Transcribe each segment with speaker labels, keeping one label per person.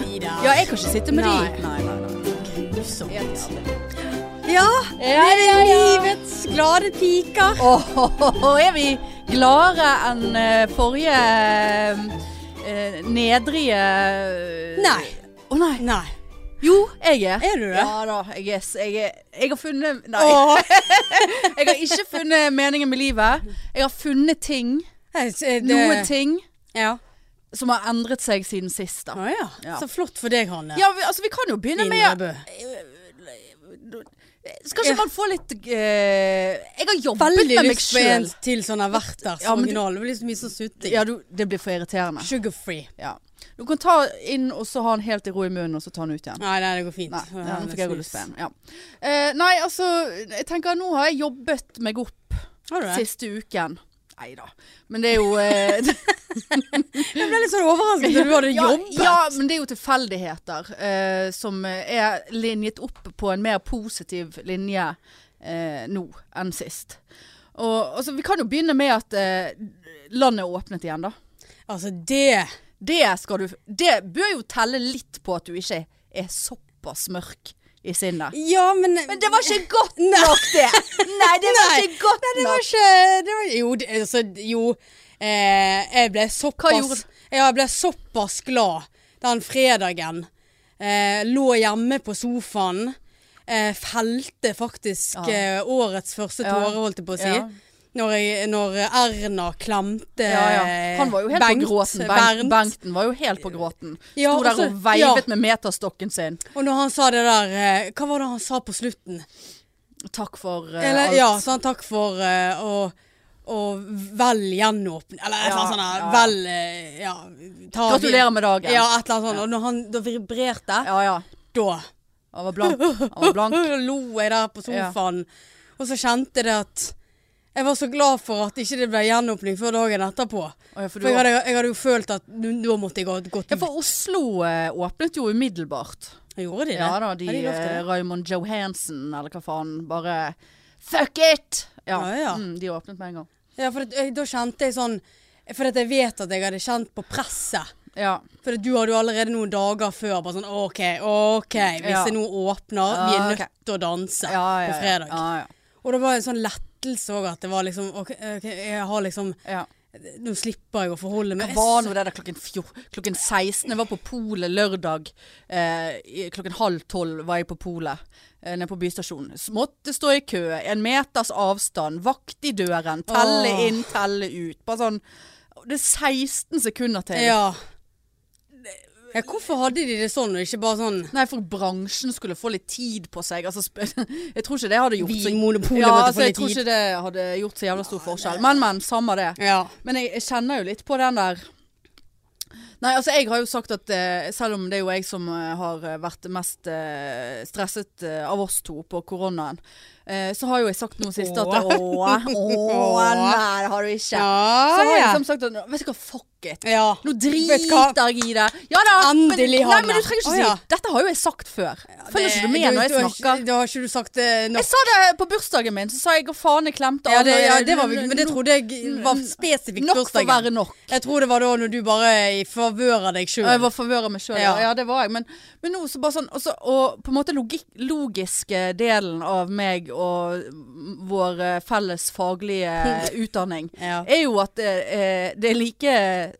Speaker 1: jeg kan ikke sitte med
Speaker 2: Nei,
Speaker 1: de.
Speaker 2: nei, nei. nei. Grusomt.
Speaker 1: Yes.
Speaker 2: jævlig.
Speaker 1: Ja,
Speaker 2: Ja,
Speaker 1: vi er
Speaker 2: ja, ja.
Speaker 1: livets glade piker.
Speaker 2: Åh, er vi gladere enn eh, forrige eh, nedrige
Speaker 1: Nei.
Speaker 2: Å nei.
Speaker 1: Nei.
Speaker 2: Jo, jeg er.
Speaker 1: Er du det?
Speaker 2: Ja da. Jeg er, s- jeg er Jeg har funnet Nei.
Speaker 1: Åh,
Speaker 2: Jeg har ikke funnet meningen med livet. Jeg har funnet ting.
Speaker 1: jeg ser det-
Speaker 2: Noen ting
Speaker 1: Ja.
Speaker 2: som har endret seg siden sist, da.
Speaker 1: Å ja.
Speaker 2: Ja.
Speaker 1: Så flott for deg, Hanne.
Speaker 2: Ja, vi, altså vi kan jo begynne med
Speaker 1: Innebø.
Speaker 2: Skal ikke man få litt eh, Jeg har jobbet
Speaker 1: Veldig
Speaker 2: med meg
Speaker 1: lyst på en
Speaker 2: sjøl.
Speaker 1: til sånn har vært der.
Speaker 2: Ja,
Speaker 1: Ja,
Speaker 2: men du-
Speaker 1: original. Det blir liksom mye sånn sutting.
Speaker 2: Ja, du, det blir for irriterende.
Speaker 1: Sugarfree.
Speaker 2: Ja. Du kan ta inn og så ha den helt i ro i munnen, og så ta den ut igjen.
Speaker 1: Nei, nei, det går fint.
Speaker 2: Nei,
Speaker 1: Ja,
Speaker 2: ja, nå
Speaker 1: det
Speaker 2: fikk jeg
Speaker 1: snus.
Speaker 2: rullespenn. Ja. Eh, nei, altså, jeg tenker nå har jeg jobbet meg opp
Speaker 1: Har du det?
Speaker 2: siste uken. Nei da. Men det er jo eh,
Speaker 1: Jeg ble litt sånn overrasket da du hadde
Speaker 2: ja,
Speaker 1: jobbet.
Speaker 2: Ja, men det er jo tilfeldigheter eh, som er linjet opp på en mer positiv linje eh, nå enn sist. Og, altså, vi kan jo begynne med at eh, landet er åpnet igjen, da.
Speaker 1: Altså, det
Speaker 2: Det skal du Det bør jo telle litt på at du ikke er såpass mørk i sinnet.
Speaker 1: Ja, men
Speaker 2: Men det var ikke godt
Speaker 1: Nei.
Speaker 2: nok, det! Nei, det var
Speaker 1: Nei.
Speaker 2: ikke godt
Speaker 1: Det var
Speaker 2: nok.
Speaker 1: ikke det var, Jo, det, altså, jo eh, Jeg ble såpass
Speaker 2: gjorde
Speaker 1: Ja, jeg ble såpass glad den fredagen. Eh, lå hjemme på sofaen. Eh, felte faktisk
Speaker 2: Ja.
Speaker 1: eh, årets første
Speaker 2: Ja.
Speaker 1: tåre, holdt jeg på å si.
Speaker 2: Ja.
Speaker 1: Når, jeg, når Erna klemte
Speaker 2: Ja, ja. Han var jo helt
Speaker 1: Bengt,
Speaker 2: på gråten. Bengt,
Speaker 1: Bernt.
Speaker 2: Bengten var jo helt på gråten. Sto
Speaker 1: Ja,
Speaker 2: der
Speaker 1: altså,
Speaker 2: og veivet
Speaker 1: ja.
Speaker 2: med meterstokken sin.
Speaker 1: Og når han sa det der eh, Hva var det han sa på slutten?
Speaker 2: Takk for eh,
Speaker 1: Eller,
Speaker 2: alt.
Speaker 1: ja, sånn takk for eh, å og vel gjenåpne Eller et eller annet
Speaker 2: Ja,
Speaker 1: sånt der,
Speaker 2: ja.
Speaker 1: vel eh, ja, ta,
Speaker 2: Gratulerer med dagen.
Speaker 1: Ja, et eller annet sånt. Og når han da vibrerte,
Speaker 2: Ja, ja.
Speaker 1: da
Speaker 2: Han var blank. Han var blank.
Speaker 1: Da lo jeg der på sofaen. Og så kjente jeg det at Jeg var så glad for at ikke det ble gjenåpning før dagen etterpå.
Speaker 2: Å, ja, for du
Speaker 1: For, jeg,
Speaker 2: var-
Speaker 1: hadde, jeg hadde jo følt at nå nå måtte jeg gå gått
Speaker 2: Ja,
Speaker 1: ut.
Speaker 2: for Oslo eh, åpnet jo umiddelbart.
Speaker 1: Gjorde de det?
Speaker 2: Ja da, de,
Speaker 1: Har
Speaker 2: eh,
Speaker 1: lov til det?
Speaker 2: Raymond Johansen eller hva faen, bare Fuck it! Ja,
Speaker 1: Ja, ja.
Speaker 2: Mm, de åpnet med en gang.
Speaker 1: Ja, for at, jeg, da kjente jeg sånn For at jeg vet at jeg hadde kjent på presset.
Speaker 2: Ja.
Speaker 1: For at du hadde jo allerede noen dager før bare sånn OK, OK. Hvis
Speaker 2: Ja.
Speaker 1: det nå åpner, vi er
Speaker 2: Ja,
Speaker 1: nødt
Speaker 2: ok.
Speaker 1: til å danse
Speaker 2: Ja, ja,
Speaker 1: på fredag.
Speaker 2: Ja, ja.
Speaker 1: Og det var en sånn lettelse òg at det var liksom OK, ok, jeg har liksom
Speaker 2: ja.
Speaker 1: Nå slipper jeg å forholde meg.
Speaker 2: Hva var nå det der klokken, fjor, klokken 16? Jeg var på polet lørdag. Eh, i- klokken halv tolv var jeg på polet eh, nede på bystasjonen. S- Måtte stå i kø, en meters avstand, vakt i døren, telle
Speaker 1: Åh.
Speaker 2: inn, telle ut. Bare sånn Det er 16 sekunder til.
Speaker 1: Ja. ja. Hvorfor hadde de det sånn, og ikke bare sånn
Speaker 2: Nei, for bransjen skulle få litt tid på seg. Altså, sp jeg tror ikke det hadde gjort så-
Speaker 1: Vinmonopolet
Speaker 2: ja,
Speaker 1: måtte få
Speaker 2: altså, jeg
Speaker 1: litt
Speaker 2: tror
Speaker 1: tid.
Speaker 2: ikke det hadde gjort så jævla stor forskjell. Men, men, samme det.
Speaker 1: Ja.
Speaker 2: Men jeg, jeg kjenner jo litt på den der Nei, altså jeg har jo sagt at eh, selv om det er jo jeg som eh, har vært mest eh, stresset eh, av oss to på koronaen, eh, så har jo jeg sagt noe siste at
Speaker 1: Åh.
Speaker 2: Åh, åh, nei, det har du ikke.
Speaker 1: Ja,
Speaker 2: så har jeg
Speaker 1: ja.
Speaker 2: liksom sagt at vet du hva, fuck it.
Speaker 1: ja.
Speaker 2: Nå
Speaker 1: Vet du hva?
Speaker 2: driter jeg i det. Ja da.
Speaker 1: Endelig,
Speaker 2: men, nei,
Speaker 1: Hanne.
Speaker 2: men du trenger ikke
Speaker 1: Å, ja.
Speaker 2: si Dette har jo jeg sagt før. Følger ikke du med når jeg snakker?
Speaker 1: Da har ikke du sagt det nok.
Speaker 2: Jeg sa det på bursdagen min, så sa jeg 'å faen, jeg klemte
Speaker 1: Ja,
Speaker 2: alle'.
Speaker 1: det, ja, det var, men det
Speaker 2: Nå-
Speaker 1: trodde jeg var spesifikt
Speaker 2: Nok for å være nok.
Speaker 1: Jeg tror det var da når du bare i favør av deg
Speaker 2: Ja, jeg
Speaker 1: sjøl.
Speaker 2: var forvøret meg sjøl, ja.
Speaker 1: Ja.
Speaker 2: ja. Det var jeg. Men, men nå så bare sånn Og, så, og på en måte logikk, logiske delen av meg og vår eh, felles faglige utdanning
Speaker 1: Ja.
Speaker 2: er jo at eh, eh, det er like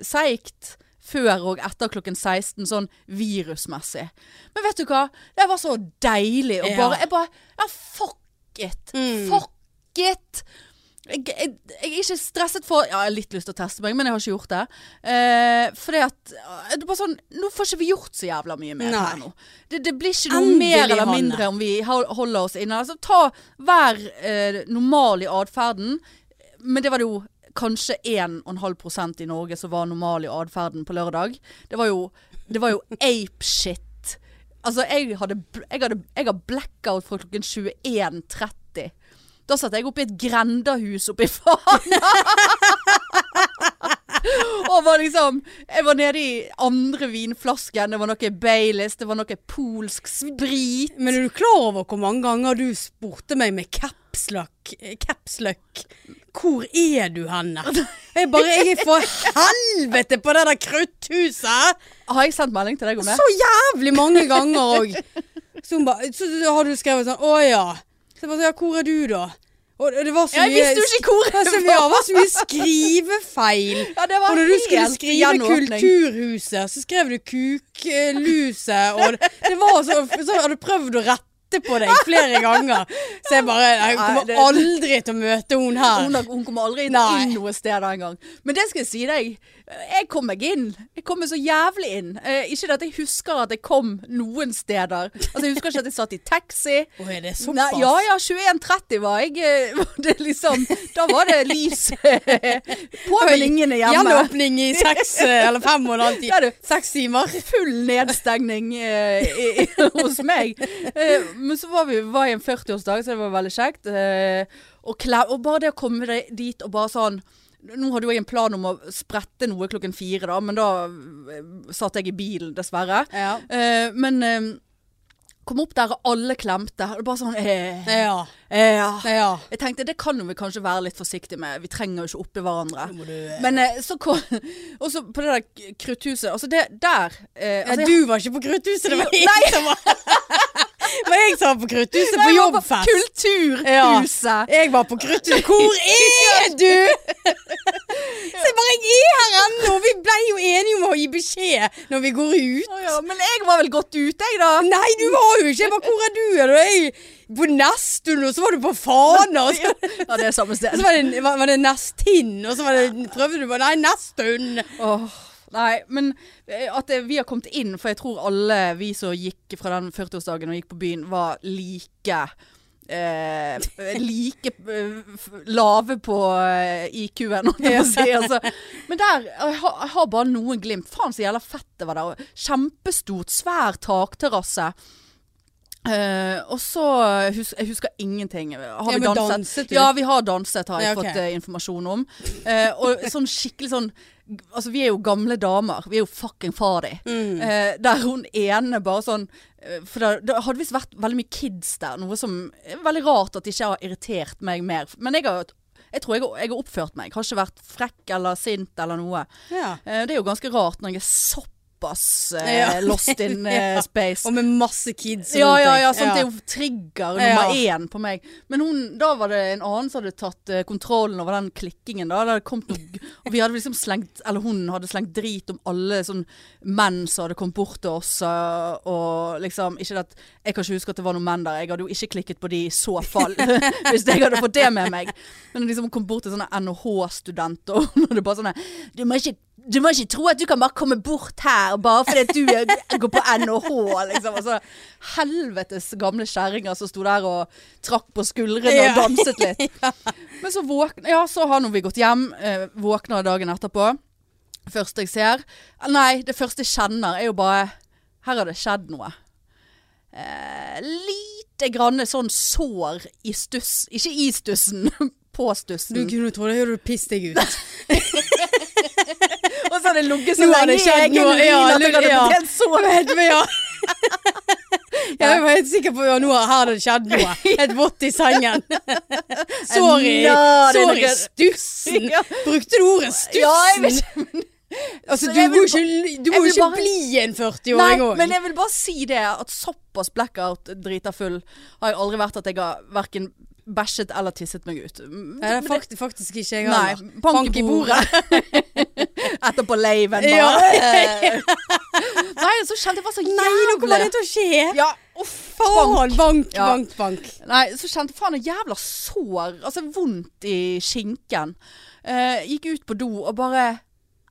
Speaker 2: seigt før og etter klokken 16, sånn virusmessig. Men vet du hva? Det var så deilig å
Speaker 1: Ja.
Speaker 2: bare Jeg bare Ja, fuck it!
Speaker 1: Mm.
Speaker 2: Fuck it! Jeg, jeg, jeg er ikke stresset for Ja, jeg har litt lyst til å teste meg, men jeg har ikke gjort det. Eh, fordi at eh, det er bare sånn, Nå får ikke vi gjort så jævla mye mer
Speaker 1: Nei.
Speaker 2: her nå. Det, det blir ikke noe
Speaker 1: Endelig,
Speaker 2: mer eller
Speaker 1: Hanne.
Speaker 2: mindre om vi hol- holder oss inne. Altså, ta Vær eh, normal i atferden. Men det var det jo kanskje 1,5 i Norge som var normal i atferden på lørdag. Det var jo, det var jo apeshit. Altså, jeg hadde, bl- jeg hadde jeg har blackout fra klokken 21.30. Da satt jeg oppe i et grendahus oppe i Fana. og var liksom Jeg var nede i andre vinflasken. Det var noe Baileys, det var noe polsk sprit.
Speaker 1: Men er du klar over hvor mange ganger du spurte meg med caps capslock. Capslock. Hvor er du henne? Jeg bare Jeg er for helvete på det der krutthuset!
Speaker 2: Har jeg sendt melding til deg om det?
Speaker 1: Så jævlig mange ganger òg. Så, hun ba- så så har du skrevet sånn Å ja. Så jeg bare, så, ja, hvor er du, da? Og det var så
Speaker 2: Jeg
Speaker 1: mye
Speaker 2: visste jo ikke hvor
Speaker 1: Ja, så,
Speaker 2: jeg
Speaker 1: ja, det var så mye skrivefeil.
Speaker 2: Ja, det
Speaker 1: Og
Speaker 2: var
Speaker 1: når du skulle
Speaker 2: helt
Speaker 1: skrive
Speaker 2: gjenåpning.
Speaker 1: Kulturhuset, så skrev du Kukluset, og det- det var så, så hadde du prøvd å rette på deg flere ganger. Så jeg bare Jeg
Speaker 2: Nei,
Speaker 1: kommer
Speaker 2: det-
Speaker 1: aldri til å møte hun her.
Speaker 2: Hun, har- hun kommer aldri inn,
Speaker 1: Nei.
Speaker 2: inn noe sted da engang. Men det skal jeg si deg. Jeg kom meg inn. Jeg kom meg så jævlig inn. Eh, ikke det at jeg husker at jeg kom noen steder. Altså, jeg husker ikke at jeg satt i taxi.
Speaker 1: Å, er det
Speaker 2: Nei,
Speaker 1: såpass?
Speaker 2: ja ja, 21.30 var jeg. eh, Det er liksom, da var det lys eh, på, men ingen er hjemme.
Speaker 1: Gjenåpning i seks eh, eller fem og en halv
Speaker 2: Ja, du.
Speaker 1: time. Seks timer.
Speaker 2: full nedstengning eh, i, i, hos meg. Eh, men så var vi var i en 40-årsdag, så det var veldig kjekt. Eh, og, kle- og bare det å komme deg dit og bare sånn nå hadde jo jeg en plan om å sprette noe klokken fire, da, men da eh, satt jeg i bilen, dessverre.
Speaker 1: Ja.
Speaker 2: Eh, men eh, kom opp der, og alle klemte. Og bare sånn eh,
Speaker 1: Ja.
Speaker 2: eh, ja.
Speaker 1: ja.
Speaker 2: Jeg tenkte det kan jo vi kanskje være litt forsiktige med. Vi trenger jo ikke oppi hverandre.
Speaker 1: Må du,
Speaker 2: Men eh, så kom Og så på det der krutthuset. Altså, det der eh, altså,
Speaker 1: ja, du var ikke på Krutthuset, det var jeg som var Det var jeg som var på Krutthuset på
Speaker 2: Nei, jeg var på
Speaker 1: jobbfest.
Speaker 2: Kulturhuset.
Speaker 1: Jeg var på Krutthuset. Hvor er du?! Se bare, jeg er her ennå! Vi ble jo enige om å gi beskjed når vi går ut.
Speaker 2: Å ja, men jeg var vel godt ute, jeg da.
Speaker 1: Nei, du var jo ikke Jeg bare, Hvor er du? Er du jeg, på Nesttun, og så var du på Fana, og så,
Speaker 2: Ja, det er samme
Speaker 1: og
Speaker 2: sted.
Speaker 1: så var det, var, var det Nesttinn, og så var det, prøvde du på Nei, Nesttun.
Speaker 2: Åh, nei, men eh, at eh, vi har kommet inn, for jeg tror alle vi som gikk fra den 40-årsdagen og gikk på byen, var like Eh, like eh, f- lave på eh, IQ-en, holdt jeg på å si. Altså. Men der jeg har, jeg har bare noen glimt. Faen så jævla fett det var der. og Kjempestort, svær takterrasse. Eh, og så hus Jeg husker ingenting. Har
Speaker 1: Ja,
Speaker 2: vi
Speaker 1: men
Speaker 2: danset?
Speaker 1: danset du?
Speaker 2: Ja, vi har danset, har jeg
Speaker 1: Ja, ok.
Speaker 2: fått eh, informasjon om. Eh, og sånn skikkelig sånn Altså, vi er jo gamle damer. Vi er jo fucking far di.
Speaker 1: Mm.
Speaker 2: Eh, der hun ene bare sånn eh, For da, da hadde visst vært veldig mye kids der. Noe som er veldig rart at det ikke har irritert meg mer. Men jeg, har, jeg tror jeg, har- jeg har oppført meg. Har ikke vært frekk eller sint eller noe.
Speaker 1: Ja.
Speaker 2: Eh, det er jo ganske rart når jeg er såpass eh,
Speaker 1: Ja.
Speaker 2: lost in eh,
Speaker 1: Ja.
Speaker 2: space.
Speaker 1: Og med masse kids. og
Speaker 2: Ja,
Speaker 1: sånne
Speaker 2: ja,
Speaker 1: ting.
Speaker 2: ja, sant, det er jo trigger nummer én på meg. Men hun, da var det en annen som hadde tatt eh, kontrollen over den klikkingen. Da. Det hadde kommet noe, og vi hadde liksom slengt, eller hun hadde slengt drit om alle sånn menn som hadde kommet bort til oss. eh, Og liksom, ikke at jeg kan ikke huske at det var noen menn der. Jeg hadde jo ikke klikket på de i så fall, hvis jeg hadde fått det med meg. Men liksom hun kom bort til sånne NHH-studenter, og hun hadde bare sånn Du må ikke du må ikke tro at du kan bare komme bort her bare fordi at du er- går på NHH, liksom. Altså, helvetes gamle kjerringer som sto der og trakk på skuldrene
Speaker 1: Ja.
Speaker 2: og danset litt. Men så våkna Ja, så har nå vi gått hjem. Eh, våkner dagen etterpå. Første jeg ser Nei, det første jeg kjenner, er jo bare Her har det skjedd noe. Eh, lite grann sånn sår i stuss Ikke i stussen, på
Speaker 1: Du
Speaker 2: stussen.
Speaker 1: kunne tro det, hadde du pisset deg ut.
Speaker 2: Og så har det ligget så
Speaker 1: Nå har
Speaker 2: lenge
Speaker 1: det
Speaker 2: i
Speaker 1: skjedd
Speaker 2: egen
Speaker 1: noe.
Speaker 2: urin
Speaker 1: Ja,
Speaker 2: at jeg hadde
Speaker 1: ja.
Speaker 2: blitt helt sår.
Speaker 1: Vet du, ja. Jeg var helt sikker på at nå har- her hadde det skjedd noe. Et vått i sengen. Sorry.
Speaker 2: Nå, det er
Speaker 1: Sorry,
Speaker 2: noe-
Speaker 1: stussen.
Speaker 2: Ja.
Speaker 1: Brukte du ordet
Speaker 2: Ja, jeg
Speaker 1: stussen?
Speaker 2: vet
Speaker 1: Altså,
Speaker 2: Så
Speaker 1: du
Speaker 2: jeg
Speaker 1: må
Speaker 2: vil
Speaker 1: ikke, du
Speaker 2: jeg
Speaker 1: må
Speaker 2: vil
Speaker 1: ikke
Speaker 2: bare-
Speaker 1: bli en
Speaker 2: Nei,
Speaker 1: 40-åring òg.
Speaker 2: men jeg vil bare si det at såpass blackout drita full har jeg aldri vært at jeg har verken bæsjet eller tisset meg ut. Mm,
Speaker 1: Det er fakt, faktisk ikke jeg
Speaker 2: Nei,
Speaker 1: heller.
Speaker 2: bank i bordet. Etterpå laven bare.
Speaker 1: Ja.
Speaker 2: Eh. Nei, så kjente jeg var så
Speaker 1: Nei, nå kommer det
Speaker 2: jævlig
Speaker 1: til å skje.
Speaker 2: Ja, uff, bank.
Speaker 1: Faen. Bank,
Speaker 2: Ja.
Speaker 1: bank, bank.
Speaker 2: Nei, så kjente jeg faen det jævla sår, altså vondt i skinken. Eh, gikk ut på do og bare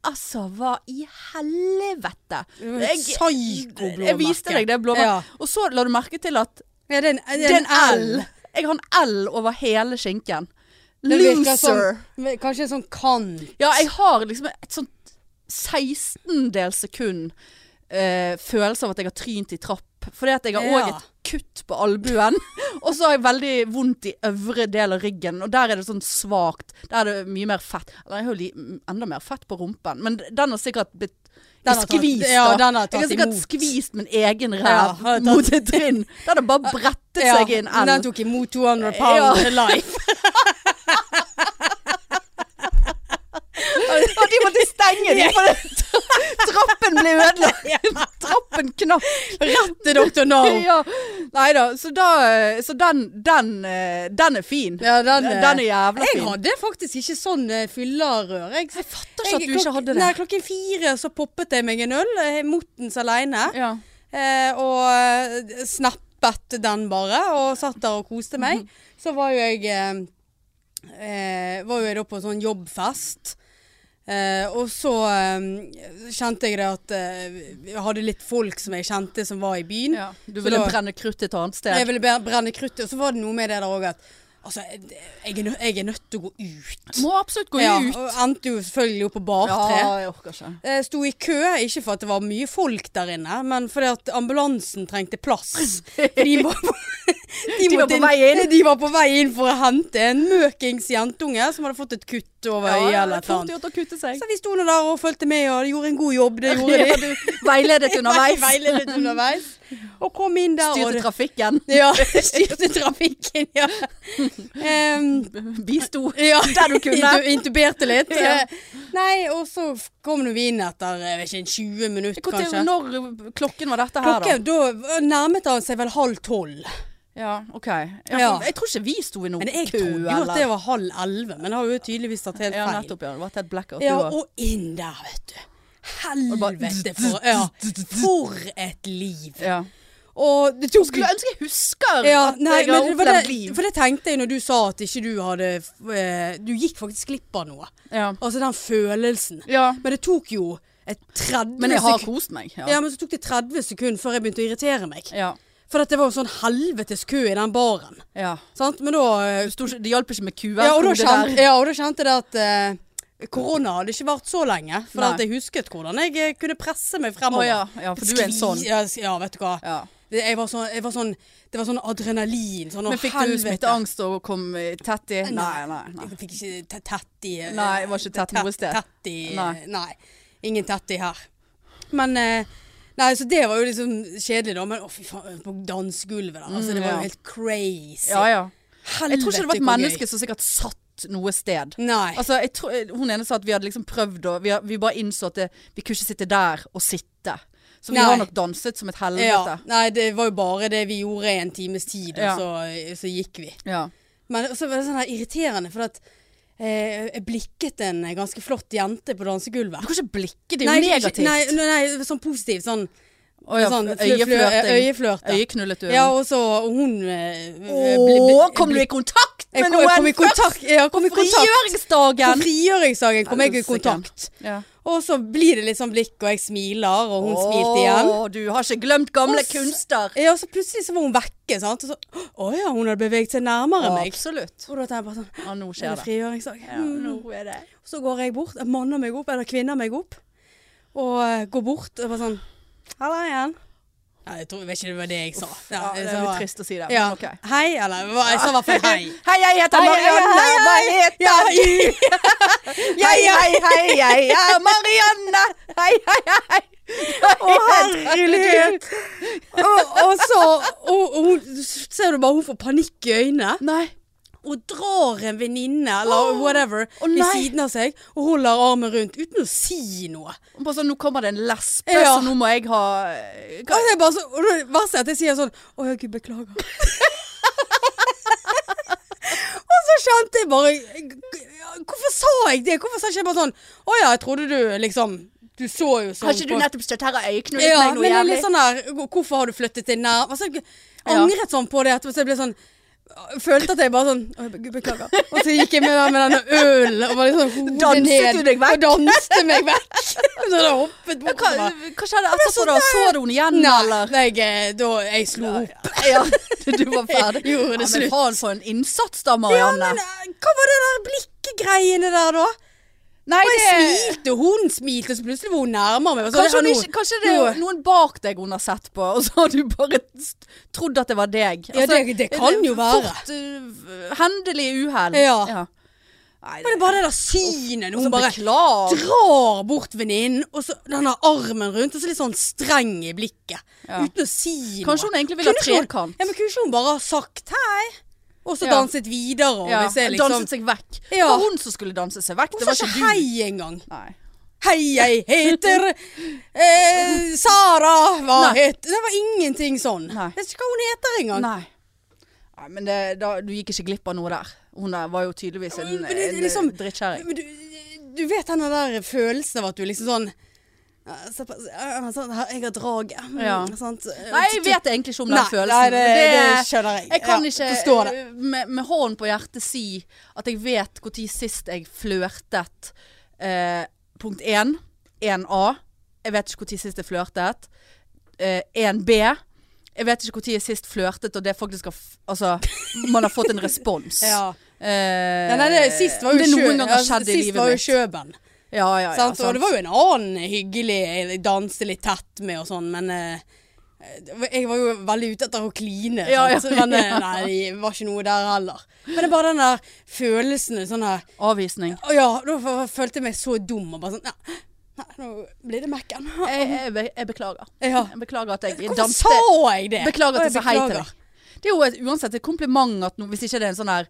Speaker 2: Altså, hva i helvete?
Speaker 1: var et psyko blåmerke.
Speaker 2: Jeg viste deg det blåmerket.
Speaker 1: Ja.
Speaker 2: Og så la du merke til at
Speaker 1: Ja, det er en, det
Speaker 2: det
Speaker 1: er
Speaker 2: er en L.
Speaker 1: L.
Speaker 2: Jeg har en L over hele skinken.
Speaker 1: Det virker
Speaker 2: Loser.
Speaker 1: som- Kanskje en sånn kant.
Speaker 2: Ja, jeg har liksom et sånt 16-del sekund eh, følelse av at jeg har trynt i trapp. Fordi at jeg har òg
Speaker 1: Ja.
Speaker 2: et kutt på albuen. og så har jeg veldig vondt i øvre del av ryggen, og der er det sånn svakt. Der er det mye mer fett. Eller jeg har jo li- enda mer fett på rumpen, men den har sikkert blitt
Speaker 1: Den har tatt-
Speaker 2: skvist,
Speaker 1: ja,
Speaker 2: da.
Speaker 1: den har
Speaker 2: jeg har
Speaker 1: tatt
Speaker 2: sikkert
Speaker 1: imot.
Speaker 2: skvist min egen
Speaker 1: Ja,
Speaker 2: ræv
Speaker 1: har tatt-
Speaker 2: mot et trinn. Da hadde bare brettet seg i en
Speaker 1: men Den
Speaker 2: L.
Speaker 1: tok imot 200 pound life.
Speaker 2: Og de måtte stenge de, for det- trappen ble ødelagt.
Speaker 1: Ja.
Speaker 2: Trappen knakk.
Speaker 1: Rett til Dr. No.
Speaker 2: Ja. Nei da, så, da, eh, så den, den, eh, den er fin.
Speaker 1: Ja, den, eh,
Speaker 2: Den er jævla
Speaker 1: Jeg
Speaker 2: fin.
Speaker 1: hadde faktisk ikke sånn eh, fyllerør. Jeg, jeg
Speaker 2: fatter ikke at du ikke hadde det.
Speaker 1: Nei, klokken fire så poppet jeg meg en øl, eh, Mottens aleine.
Speaker 2: Ja.
Speaker 1: Eh, og eh, snappet den bare, og satt der og koste meg.
Speaker 2: Mhm.
Speaker 1: Så var jo jeg eh, eh, Var jo jeg da på sånn jobbfest. Eh, og så eh, kjente jeg det at eh, jeg hadde litt folk som jeg kjente som var i byen.
Speaker 2: Ja. Du
Speaker 1: Så
Speaker 2: ville
Speaker 1: da-
Speaker 2: brenne krutt et annet
Speaker 1: Jeg
Speaker 2: sted.
Speaker 1: ville bre- brenne kruttet. Og så var det noe med det der òg at Altså, jeg er, nø jeg er nødt til å gå ut.
Speaker 2: Må absolutt gå
Speaker 1: Ja,
Speaker 2: ut.
Speaker 1: og endte jo selvfølgelig opp på bartre.
Speaker 2: Ja, jeg orker ikke.
Speaker 1: Eh, Sto i kø, ikke for at det var mye folk der inne, men fordi at ambulansen trengte plass. For De var på, de
Speaker 2: De var
Speaker 1: måtte
Speaker 2: på vei inn.
Speaker 1: De var på vei inn for å hente en møkings jentunge som hadde fått et kutt over øyet eller et eller
Speaker 2: fort
Speaker 1: annet.
Speaker 2: gjort å kutte seg.
Speaker 1: Så vi sto nå der og fulgte med, og de gjorde en god jobb. Det gjorde
Speaker 2: Ja,
Speaker 1: de.
Speaker 2: du veiledet underveis.
Speaker 1: Veiledet underveis. Og kom inn der
Speaker 2: Styrte
Speaker 1: og
Speaker 2: trafikken.
Speaker 1: Ja, styrte trafikken, ja. Em,
Speaker 2: Bisto.
Speaker 1: ja.
Speaker 2: Der du kunne.
Speaker 1: Intu- Intuberte litt.
Speaker 2: Ja.
Speaker 1: Eh, Nei, og så f- kom nå vi inn etter eh, jeg vet ikke, en 20 minutter,
Speaker 2: Hvor til,
Speaker 1: kanskje.
Speaker 2: når klokken var dette her,
Speaker 1: Klokken, da v- nærmet han seg vel halv tolv.
Speaker 2: da? Ja, OK. Ja,
Speaker 1: Ja.
Speaker 2: for Jeg tror ikke vi sto i noen
Speaker 1: Men jeg
Speaker 2: kø,
Speaker 1: trodde jo at det var halv elleve, men har jo tydeligvis tatt helt
Speaker 2: Ja,
Speaker 1: feil.
Speaker 2: nettopp, ja. Det var et blackout.
Speaker 1: Ja,
Speaker 2: du var.
Speaker 1: og inn der, vet du.
Speaker 2: Og bare-
Speaker 1: Helvete, for, ja, for et liv.
Speaker 2: ja.
Speaker 1: Og det tok
Speaker 2: Skulle ønske jeg husker
Speaker 1: ja,
Speaker 2: at
Speaker 1: nei,
Speaker 2: jeg har
Speaker 1: men det var
Speaker 2: opplevd
Speaker 1: det,
Speaker 2: liv.
Speaker 1: For det tenkte jeg når du sa at ikke du hadde eh, Du gikk faktisk glipp av noe.
Speaker 2: Ja.
Speaker 1: Altså den følelsen.
Speaker 2: ja.
Speaker 1: Men det tok jo et 30
Speaker 2: Men jeg har
Speaker 1: sekund-
Speaker 2: kost meg.
Speaker 1: ja,
Speaker 2: Ja.
Speaker 1: men så tok det 30 sekunder før jeg begynte å irritere meg.
Speaker 2: ja.
Speaker 1: For at det var jo sånn helvetes kø i den baren.
Speaker 2: ja.
Speaker 1: Sant? Men da eh,
Speaker 2: Det sto ikke- det hjalp ikke med kuen.
Speaker 1: ja, og da
Speaker 2: det der.
Speaker 1: kjente, ja, og da kjente jeg det at eh, korona hadde ikke vart så lenge. For
Speaker 2: Nei.
Speaker 1: at jeg husket hvordan jeg eh, kunne presse meg
Speaker 2: Å
Speaker 1: fremover.
Speaker 2: ja. ja, for du er en sånn.
Speaker 1: Skvis- Ja, s- ja, vet du hva.
Speaker 2: Ja.
Speaker 1: Det, jeg var sånn, jeg var sånn, det var sånn adrenalin. Sånn, å,
Speaker 2: Men fikk du
Speaker 1: helvete.
Speaker 2: smitteangst og kom eh, tett i? Nei, nei. nei.
Speaker 1: Jeg fikk ikke te- tett i eh,
Speaker 2: Nei, jeg var ikke tett noe sted.
Speaker 1: Tett i, eh,
Speaker 2: Nei.
Speaker 1: nei. Ingen tett i her. Men eh, Nei, så det var jo liksom kjedelig, da. Men å, fy faen, på dansegulvet der. Altså, det
Speaker 2: Mm,
Speaker 1: var
Speaker 2: ja.
Speaker 1: jo helt crazy.
Speaker 2: Ja, ja.
Speaker 1: Helvete,
Speaker 2: Jeg tror ikke det var et
Speaker 1: hvor gøy.
Speaker 2: menneske som sikkert satt noe sted.
Speaker 1: Nei.
Speaker 2: Altså, jeg tror, hun ene sa at vi hadde liksom prøvd, og vi, har- vi bare innså at det, vi kunne ikke sitte der og sitte. Så vi
Speaker 1: Nei.
Speaker 2: har nok danset som et helvete.
Speaker 1: Ja, nei, det var jo bare det vi gjorde i en times tid,
Speaker 2: Ja.
Speaker 1: og så, så gikk vi.
Speaker 2: Ja.
Speaker 1: Men så var det sånn her irriterende, for at eh, jeg blikket en ganske flott jente på
Speaker 2: Du
Speaker 1: dansegulvet.
Speaker 2: kan ikke blikke, det er jo negativt.
Speaker 1: Nei, nei, nei, sånn positivt. Sånn,
Speaker 2: Å ja,
Speaker 1: sånn flø-
Speaker 2: øyeflørting.
Speaker 1: flø- øyeflørte.
Speaker 2: Øyeknullet du.
Speaker 1: Ja, og så og hun eh,
Speaker 2: Å, kom du i kontakt
Speaker 1: jeg
Speaker 2: med
Speaker 1: kom,
Speaker 2: noen
Speaker 1: jeg kom i kontakt, ja, jeg kom i
Speaker 2: først?
Speaker 1: kontakt. På
Speaker 2: Frigjøringsdagen!
Speaker 1: frigjøringsdagen kom jeg i
Speaker 2: Helsike.
Speaker 1: kontakt.
Speaker 2: Ja.
Speaker 1: Og så blir det litt sånn blikk, og jeg smiler, og hun smilte igjen.
Speaker 2: Å, du har ikke glemt gamle
Speaker 1: Og s-
Speaker 2: kunster.
Speaker 1: Ja, og så plutselig så var hun vekke, sant. Og så Å ja, hun hadde beveget seg nærmere meg.
Speaker 2: Absolutt.
Speaker 1: Og da tenkte jeg bare sånn
Speaker 2: Ja, nå
Speaker 1: Er
Speaker 2: skjer
Speaker 1: det
Speaker 2: det.
Speaker 1: frigjøringsdag?
Speaker 2: Ja, nå er det.
Speaker 1: Mm. Så går jeg bort, jeg manner meg opp, eller kvinner meg opp, og eh, går bort og bare sånn Halla igjen. Nei, jeg tror jeg vet ikke det var det jeg sa.
Speaker 2: Ja,
Speaker 1: Ja,
Speaker 2: det
Speaker 1: jeg
Speaker 2: er
Speaker 1: sa
Speaker 2: litt
Speaker 1: bare,
Speaker 2: trist å si det.
Speaker 1: Ja.
Speaker 2: men ok.
Speaker 1: Hei, eller hva- jeg sa i hvert fall hei.
Speaker 2: Hei, jeg heter
Speaker 1: Hei, hei,
Speaker 2: Marianne.
Speaker 1: hei,
Speaker 2: Hva heter
Speaker 1: Ja,
Speaker 2: du? Hei, hei, hei, jeg er Marianne. Hei, hei, hei.
Speaker 1: Å, herlighet! Og, og så og, og, hun- Ser du bare hun får panikk i øynene.
Speaker 2: Nei.
Speaker 1: og drar en venninne eller
Speaker 2: Åh,
Speaker 1: whatever
Speaker 2: å
Speaker 1: ved
Speaker 2: nei.
Speaker 1: siden av seg og holder armen rundt uten å si noe.
Speaker 2: Bare sånn, nå kommer det en lesbe,
Speaker 1: Ja.
Speaker 2: så nå må jeg ha
Speaker 1: Og
Speaker 2: Hva-
Speaker 1: det er bare så, og det er verst at jeg sier sånn Å ja, gud, beklager. og så kjente jeg bare Hvorfor sa jeg det? Hvorfor sa jeg ikke bare sånn Å ja, jeg trodde du liksom Du så jo sånn
Speaker 2: Har ikke du
Speaker 1: på-
Speaker 2: nettopp stått her og øyeknullet
Speaker 1: ja,
Speaker 2: meg
Speaker 1: men
Speaker 2: noe
Speaker 1: det er
Speaker 2: jævlig?
Speaker 1: litt sånn der Hvorfor har du flyttet deg nær? Altså, jeg angret sånn på det etterpå, så jeg ble sånn Følte at jeg bare sånn «Å, Gud, beklager. Og så gikk jeg med, den- med denne ølen og var litt sånn hodet
Speaker 2: Danset
Speaker 1: ned.
Speaker 2: du deg vekk?
Speaker 1: Og danste meg vekk. Så da hoppet
Speaker 2: Hva,
Speaker 1: bortover.
Speaker 2: hva skjedde etterpå, da? Så du henne igjen,
Speaker 1: Nei,
Speaker 2: eller?
Speaker 1: nei jeg, eh, da jeg slo opp.
Speaker 2: Ja, du var ferdig.
Speaker 1: Gjorde
Speaker 2: Ja,
Speaker 1: det
Speaker 2: men
Speaker 1: slutt.
Speaker 2: faen for en innsats da,
Speaker 1: Ja,
Speaker 2: Marianne.
Speaker 1: men eh, hva var det der blikkegreiene der, da?
Speaker 2: Nei,
Speaker 1: Og jeg
Speaker 2: det
Speaker 1: smilte, og hun smilte, og så plutselig var hun nærmere meg. Og så,
Speaker 2: Kanskje,
Speaker 1: det
Speaker 2: hun
Speaker 1: her
Speaker 2: ikke,
Speaker 1: nå-
Speaker 2: kanskje det er noen bak deg hun har sett på, og så har du bare st- trodd at det var deg. Altså,
Speaker 1: Ja, det- det kan jo være.
Speaker 2: Fort, uh, hendelig eh, uhell.
Speaker 1: Ja.
Speaker 2: Nei,
Speaker 1: Men det er bare det der synet.
Speaker 2: Og så
Speaker 1: Hun bare
Speaker 2: beklager.
Speaker 1: drar bort venninnen, og så den der armen rundt, og så litt sånn streng i blikket.
Speaker 2: Ja.
Speaker 1: Uten å si noe.
Speaker 2: Kanskje hun egentlig vil ha
Speaker 1: Kunne ikke hun-
Speaker 2: trekant.
Speaker 1: Ja, men kunne ikke hun bare ha sagt hei, og så
Speaker 2: Ja.
Speaker 1: danset videre? Og
Speaker 2: Ja,
Speaker 1: hvis jeg liksom,
Speaker 2: Danset seg vekk. Det
Speaker 1: Ja.
Speaker 2: var hun som skulle danse seg vekk.
Speaker 1: Hun
Speaker 2: Det
Speaker 1: sa
Speaker 2: var
Speaker 1: ikke
Speaker 2: ikke du.
Speaker 1: hei engang.
Speaker 2: Nei.
Speaker 1: Hei, jeg heter eh, Sara. Hva
Speaker 2: Nei.
Speaker 1: het Det var ingenting sånn.
Speaker 2: Nei.
Speaker 1: Jeg vet ikke hva hun heter engang.
Speaker 2: Nei. Nei, men det, da, du gikk ikke glipp av noe der. Hun der var jo tydeligvis en,
Speaker 1: Men det er
Speaker 2: en
Speaker 1: liksom-
Speaker 2: drittkjerring.
Speaker 1: Men du, du vet den der følelsen av at du liksom sånn eh, se på- eh, sånn, her, Jeg har drag. mm,
Speaker 2: Ja.
Speaker 1: Sant?
Speaker 2: Nei, jeg vet egentlig ikke om den
Speaker 1: Nei,
Speaker 2: følelsen.
Speaker 1: nei, det, det, skjønner jeg.
Speaker 2: jeg kan
Speaker 1: Ja,
Speaker 2: ikke
Speaker 1: forstår det.
Speaker 2: eh, med, med hånden på hjertet si at jeg vet når sist jeg flørtet. Eh, punkt 1, 1A. Jeg vet ikke når sist jeg flørtet. Eh, 1B. Jeg vet ikke når jeg sist flørtet, og det faktisk har f Altså, man har fått en respons.
Speaker 1: Ja.
Speaker 2: Eh,
Speaker 1: Ja, nei, det, sist var jo,
Speaker 2: det noen
Speaker 1: Kjø-
Speaker 2: ganger
Speaker 1: ja,
Speaker 2: skjedde i
Speaker 1: sist
Speaker 2: livet
Speaker 1: var jo
Speaker 2: mitt.
Speaker 1: Kjøben.
Speaker 2: Ja, ja, ja,
Speaker 1: sant?
Speaker 2: sant.
Speaker 1: Og det var jo en annen hyggelig jeg danste litt tett med og sånn, men eh, jeg var jo veldig ute etter å kline.
Speaker 2: Ja, ja,
Speaker 1: sant? Men eh,
Speaker 2: ja.
Speaker 1: nei, det var ikke noe der heller. Men det er bare den der følelsen sånn her
Speaker 2: Avvisning.
Speaker 1: Å ja, da f- følte jeg meg så dum og bare sånn Nei, nei nå blir det Mac-en.
Speaker 2: Jeg, jeg, be- jeg beklager.
Speaker 1: Ja.
Speaker 2: Jeg beklager at jeg
Speaker 1: Hvorfor
Speaker 2: danste
Speaker 1: sa jeg det?
Speaker 2: Beklager
Speaker 1: Å,
Speaker 2: at jeg sa hei til
Speaker 1: beklager.
Speaker 2: deg. Det er jo et, uansett et kompliment at no, hvis ikke det er en sånn der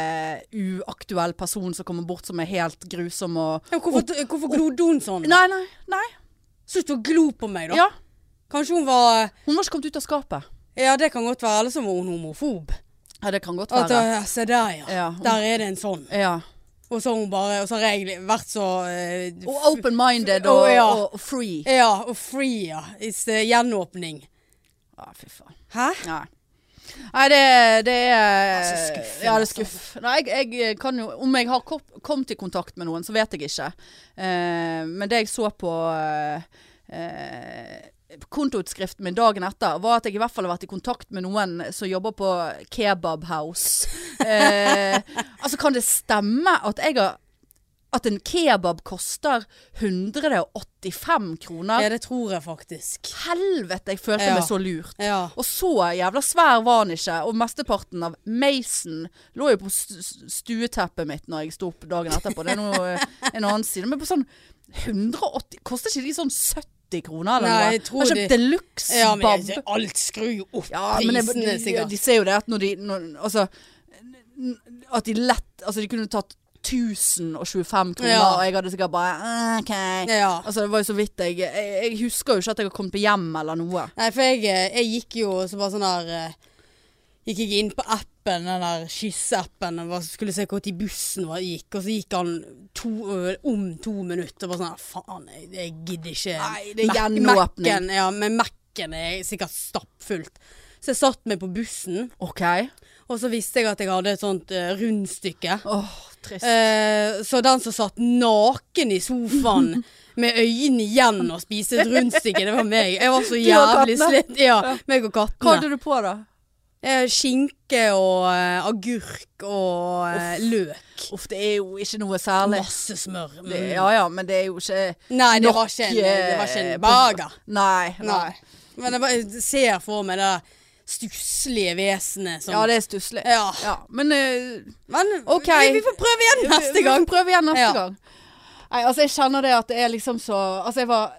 Speaker 2: kjempeuaktuell person som kommer bort som er helt grusom og
Speaker 1: Ja, men hvorfor, hvorfor glodde hun sånn?
Speaker 2: Nei, nei, nei.
Speaker 1: Syns du hun glo på meg, da?
Speaker 2: Ja.
Speaker 1: Kanskje hun var
Speaker 2: Hun var ikke kommet ut av skapet.
Speaker 1: Ja, det kan godt være. Eller så var hun homofob.
Speaker 2: Ja, det kan godt
Speaker 1: At,
Speaker 2: være.
Speaker 1: ja, se der, ja.
Speaker 2: Ja, hun-
Speaker 1: Der er det en sånn.
Speaker 2: Ja.
Speaker 1: Og så har hun bare, og så har jeg li- vært så eh, f-
Speaker 2: Og open-minded
Speaker 1: Å,
Speaker 2: og,
Speaker 1: ja.
Speaker 2: og, og free.
Speaker 1: Ja, og free, ja. It's eh, gjenåpning.
Speaker 2: Ja, fy faen.
Speaker 1: Hæ?
Speaker 2: Nei. Nei, det, det er
Speaker 1: så skuffende, altså.
Speaker 2: Ja, det er skuff. Nei, jeg, jeg kan jo Om jeg har kom- kommet i kontakt med noen, så vet jeg ikke. Eh, men det jeg så på eh, eh, kontoutskriften min dagen etter, var at jeg i hvert fall har vært i kontakt med noen som jobber på Kebab House. Eh, altså, kan det stemme at jeg har At en kebab koster 185 kroner?
Speaker 1: Ja, det tror jeg faktisk.
Speaker 2: Helvete, jeg følte
Speaker 1: Ja.
Speaker 2: meg så lurt.
Speaker 1: Ja.
Speaker 2: Og så jævla svær var han ikke, og mesteparten av Mason lå jo på st- st- stueteppet mitt når jeg sto opp dagen etterpå. Det er noe, en annen side. Men på sånn 180 Koster ikke de sånn 70 kroner eller
Speaker 1: Nei,
Speaker 2: noe?
Speaker 1: jeg tror
Speaker 2: har
Speaker 1: de-
Speaker 2: kjøpt deluxe
Speaker 1: ja, men
Speaker 2: bab.
Speaker 1: jeg- alt skrur jo opp
Speaker 2: Ja, men jeg,
Speaker 1: prisene,
Speaker 2: de,
Speaker 1: sikkert.
Speaker 2: de ser jo det at når de når, Altså n- At de lett Altså, de kunne tatt 1025 kroner,
Speaker 1: Ja.
Speaker 2: og jeg hadde sikkert bare "Ah, OK.
Speaker 1: Ja.
Speaker 2: Altså, det var jo så vidt jeg Jeg, jeg husker jo ikke at jeg har kommet på hjem eller noe.
Speaker 1: Nei, for jeg, eh, jeg gikk jo så bare sånn der eh, Gikk jeg inn på appen, den der skisseappen, og bare skulle se hvor tid bussen var, gikk, og så gikk han to, ø, om to minutter. Og bare sånn Faen, jeg, jeg gidder ikke.
Speaker 2: Nei, det er
Speaker 1: Mac-
Speaker 2: gjenåpning.
Speaker 1: Mac-en- Ja, men Mac-en er sikkert stappfullt. Så jeg satt meg på bussen,
Speaker 2: OK?
Speaker 1: og så visste jeg at jeg hadde et sånt eh, rundstykke.
Speaker 2: Åh, trist.
Speaker 1: Eh, så den som satt naken i sofaen med øynene igjen og spiste et rundstykke, det var meg. Jeg var så
Speaker 2: Du og
Speaker 1: jævlig
Speaker 2: kattene.
Speaker 1: sliten. Ja, meg og
Speaker 2: Hva
Speaker 1: kattene.
Speaker 2: hadde du på da?
Speaker 1: Eh, skinke og eh, agurk og eh, løk.
Speaker 2: Uff, det er jo ikke noe særlig.
Speaker 1: Masse smør. Mm.
Speaker 2: Det, ja ja, men det er jo ikke
Speaker 1: Nei, det
Speaker 2: nok,
Speaker 1: var ikke en, det var ikke
Speaker 2: eh,
Speaker 1: en bager.
Speaker 2: Nei. nei.
Speaker 1: Nei. Men jeg bare ser for meg det stusslige vesenet som
Speaker 2: Ja, det er stusslig.
Speaker 1: sånn. Ja.
Speaker 2: men eh,
Speaker 1: Men
Speaker 2: Ok.
Speaker 1: vi, vi får prøve igjen neste gang.
Speaker 2: Vi får prøve igjen neste
Speaker 1: Ja.
Speaker 2: gang. Nei, altså jeg kjenner det at det er liksom så Altså jeg var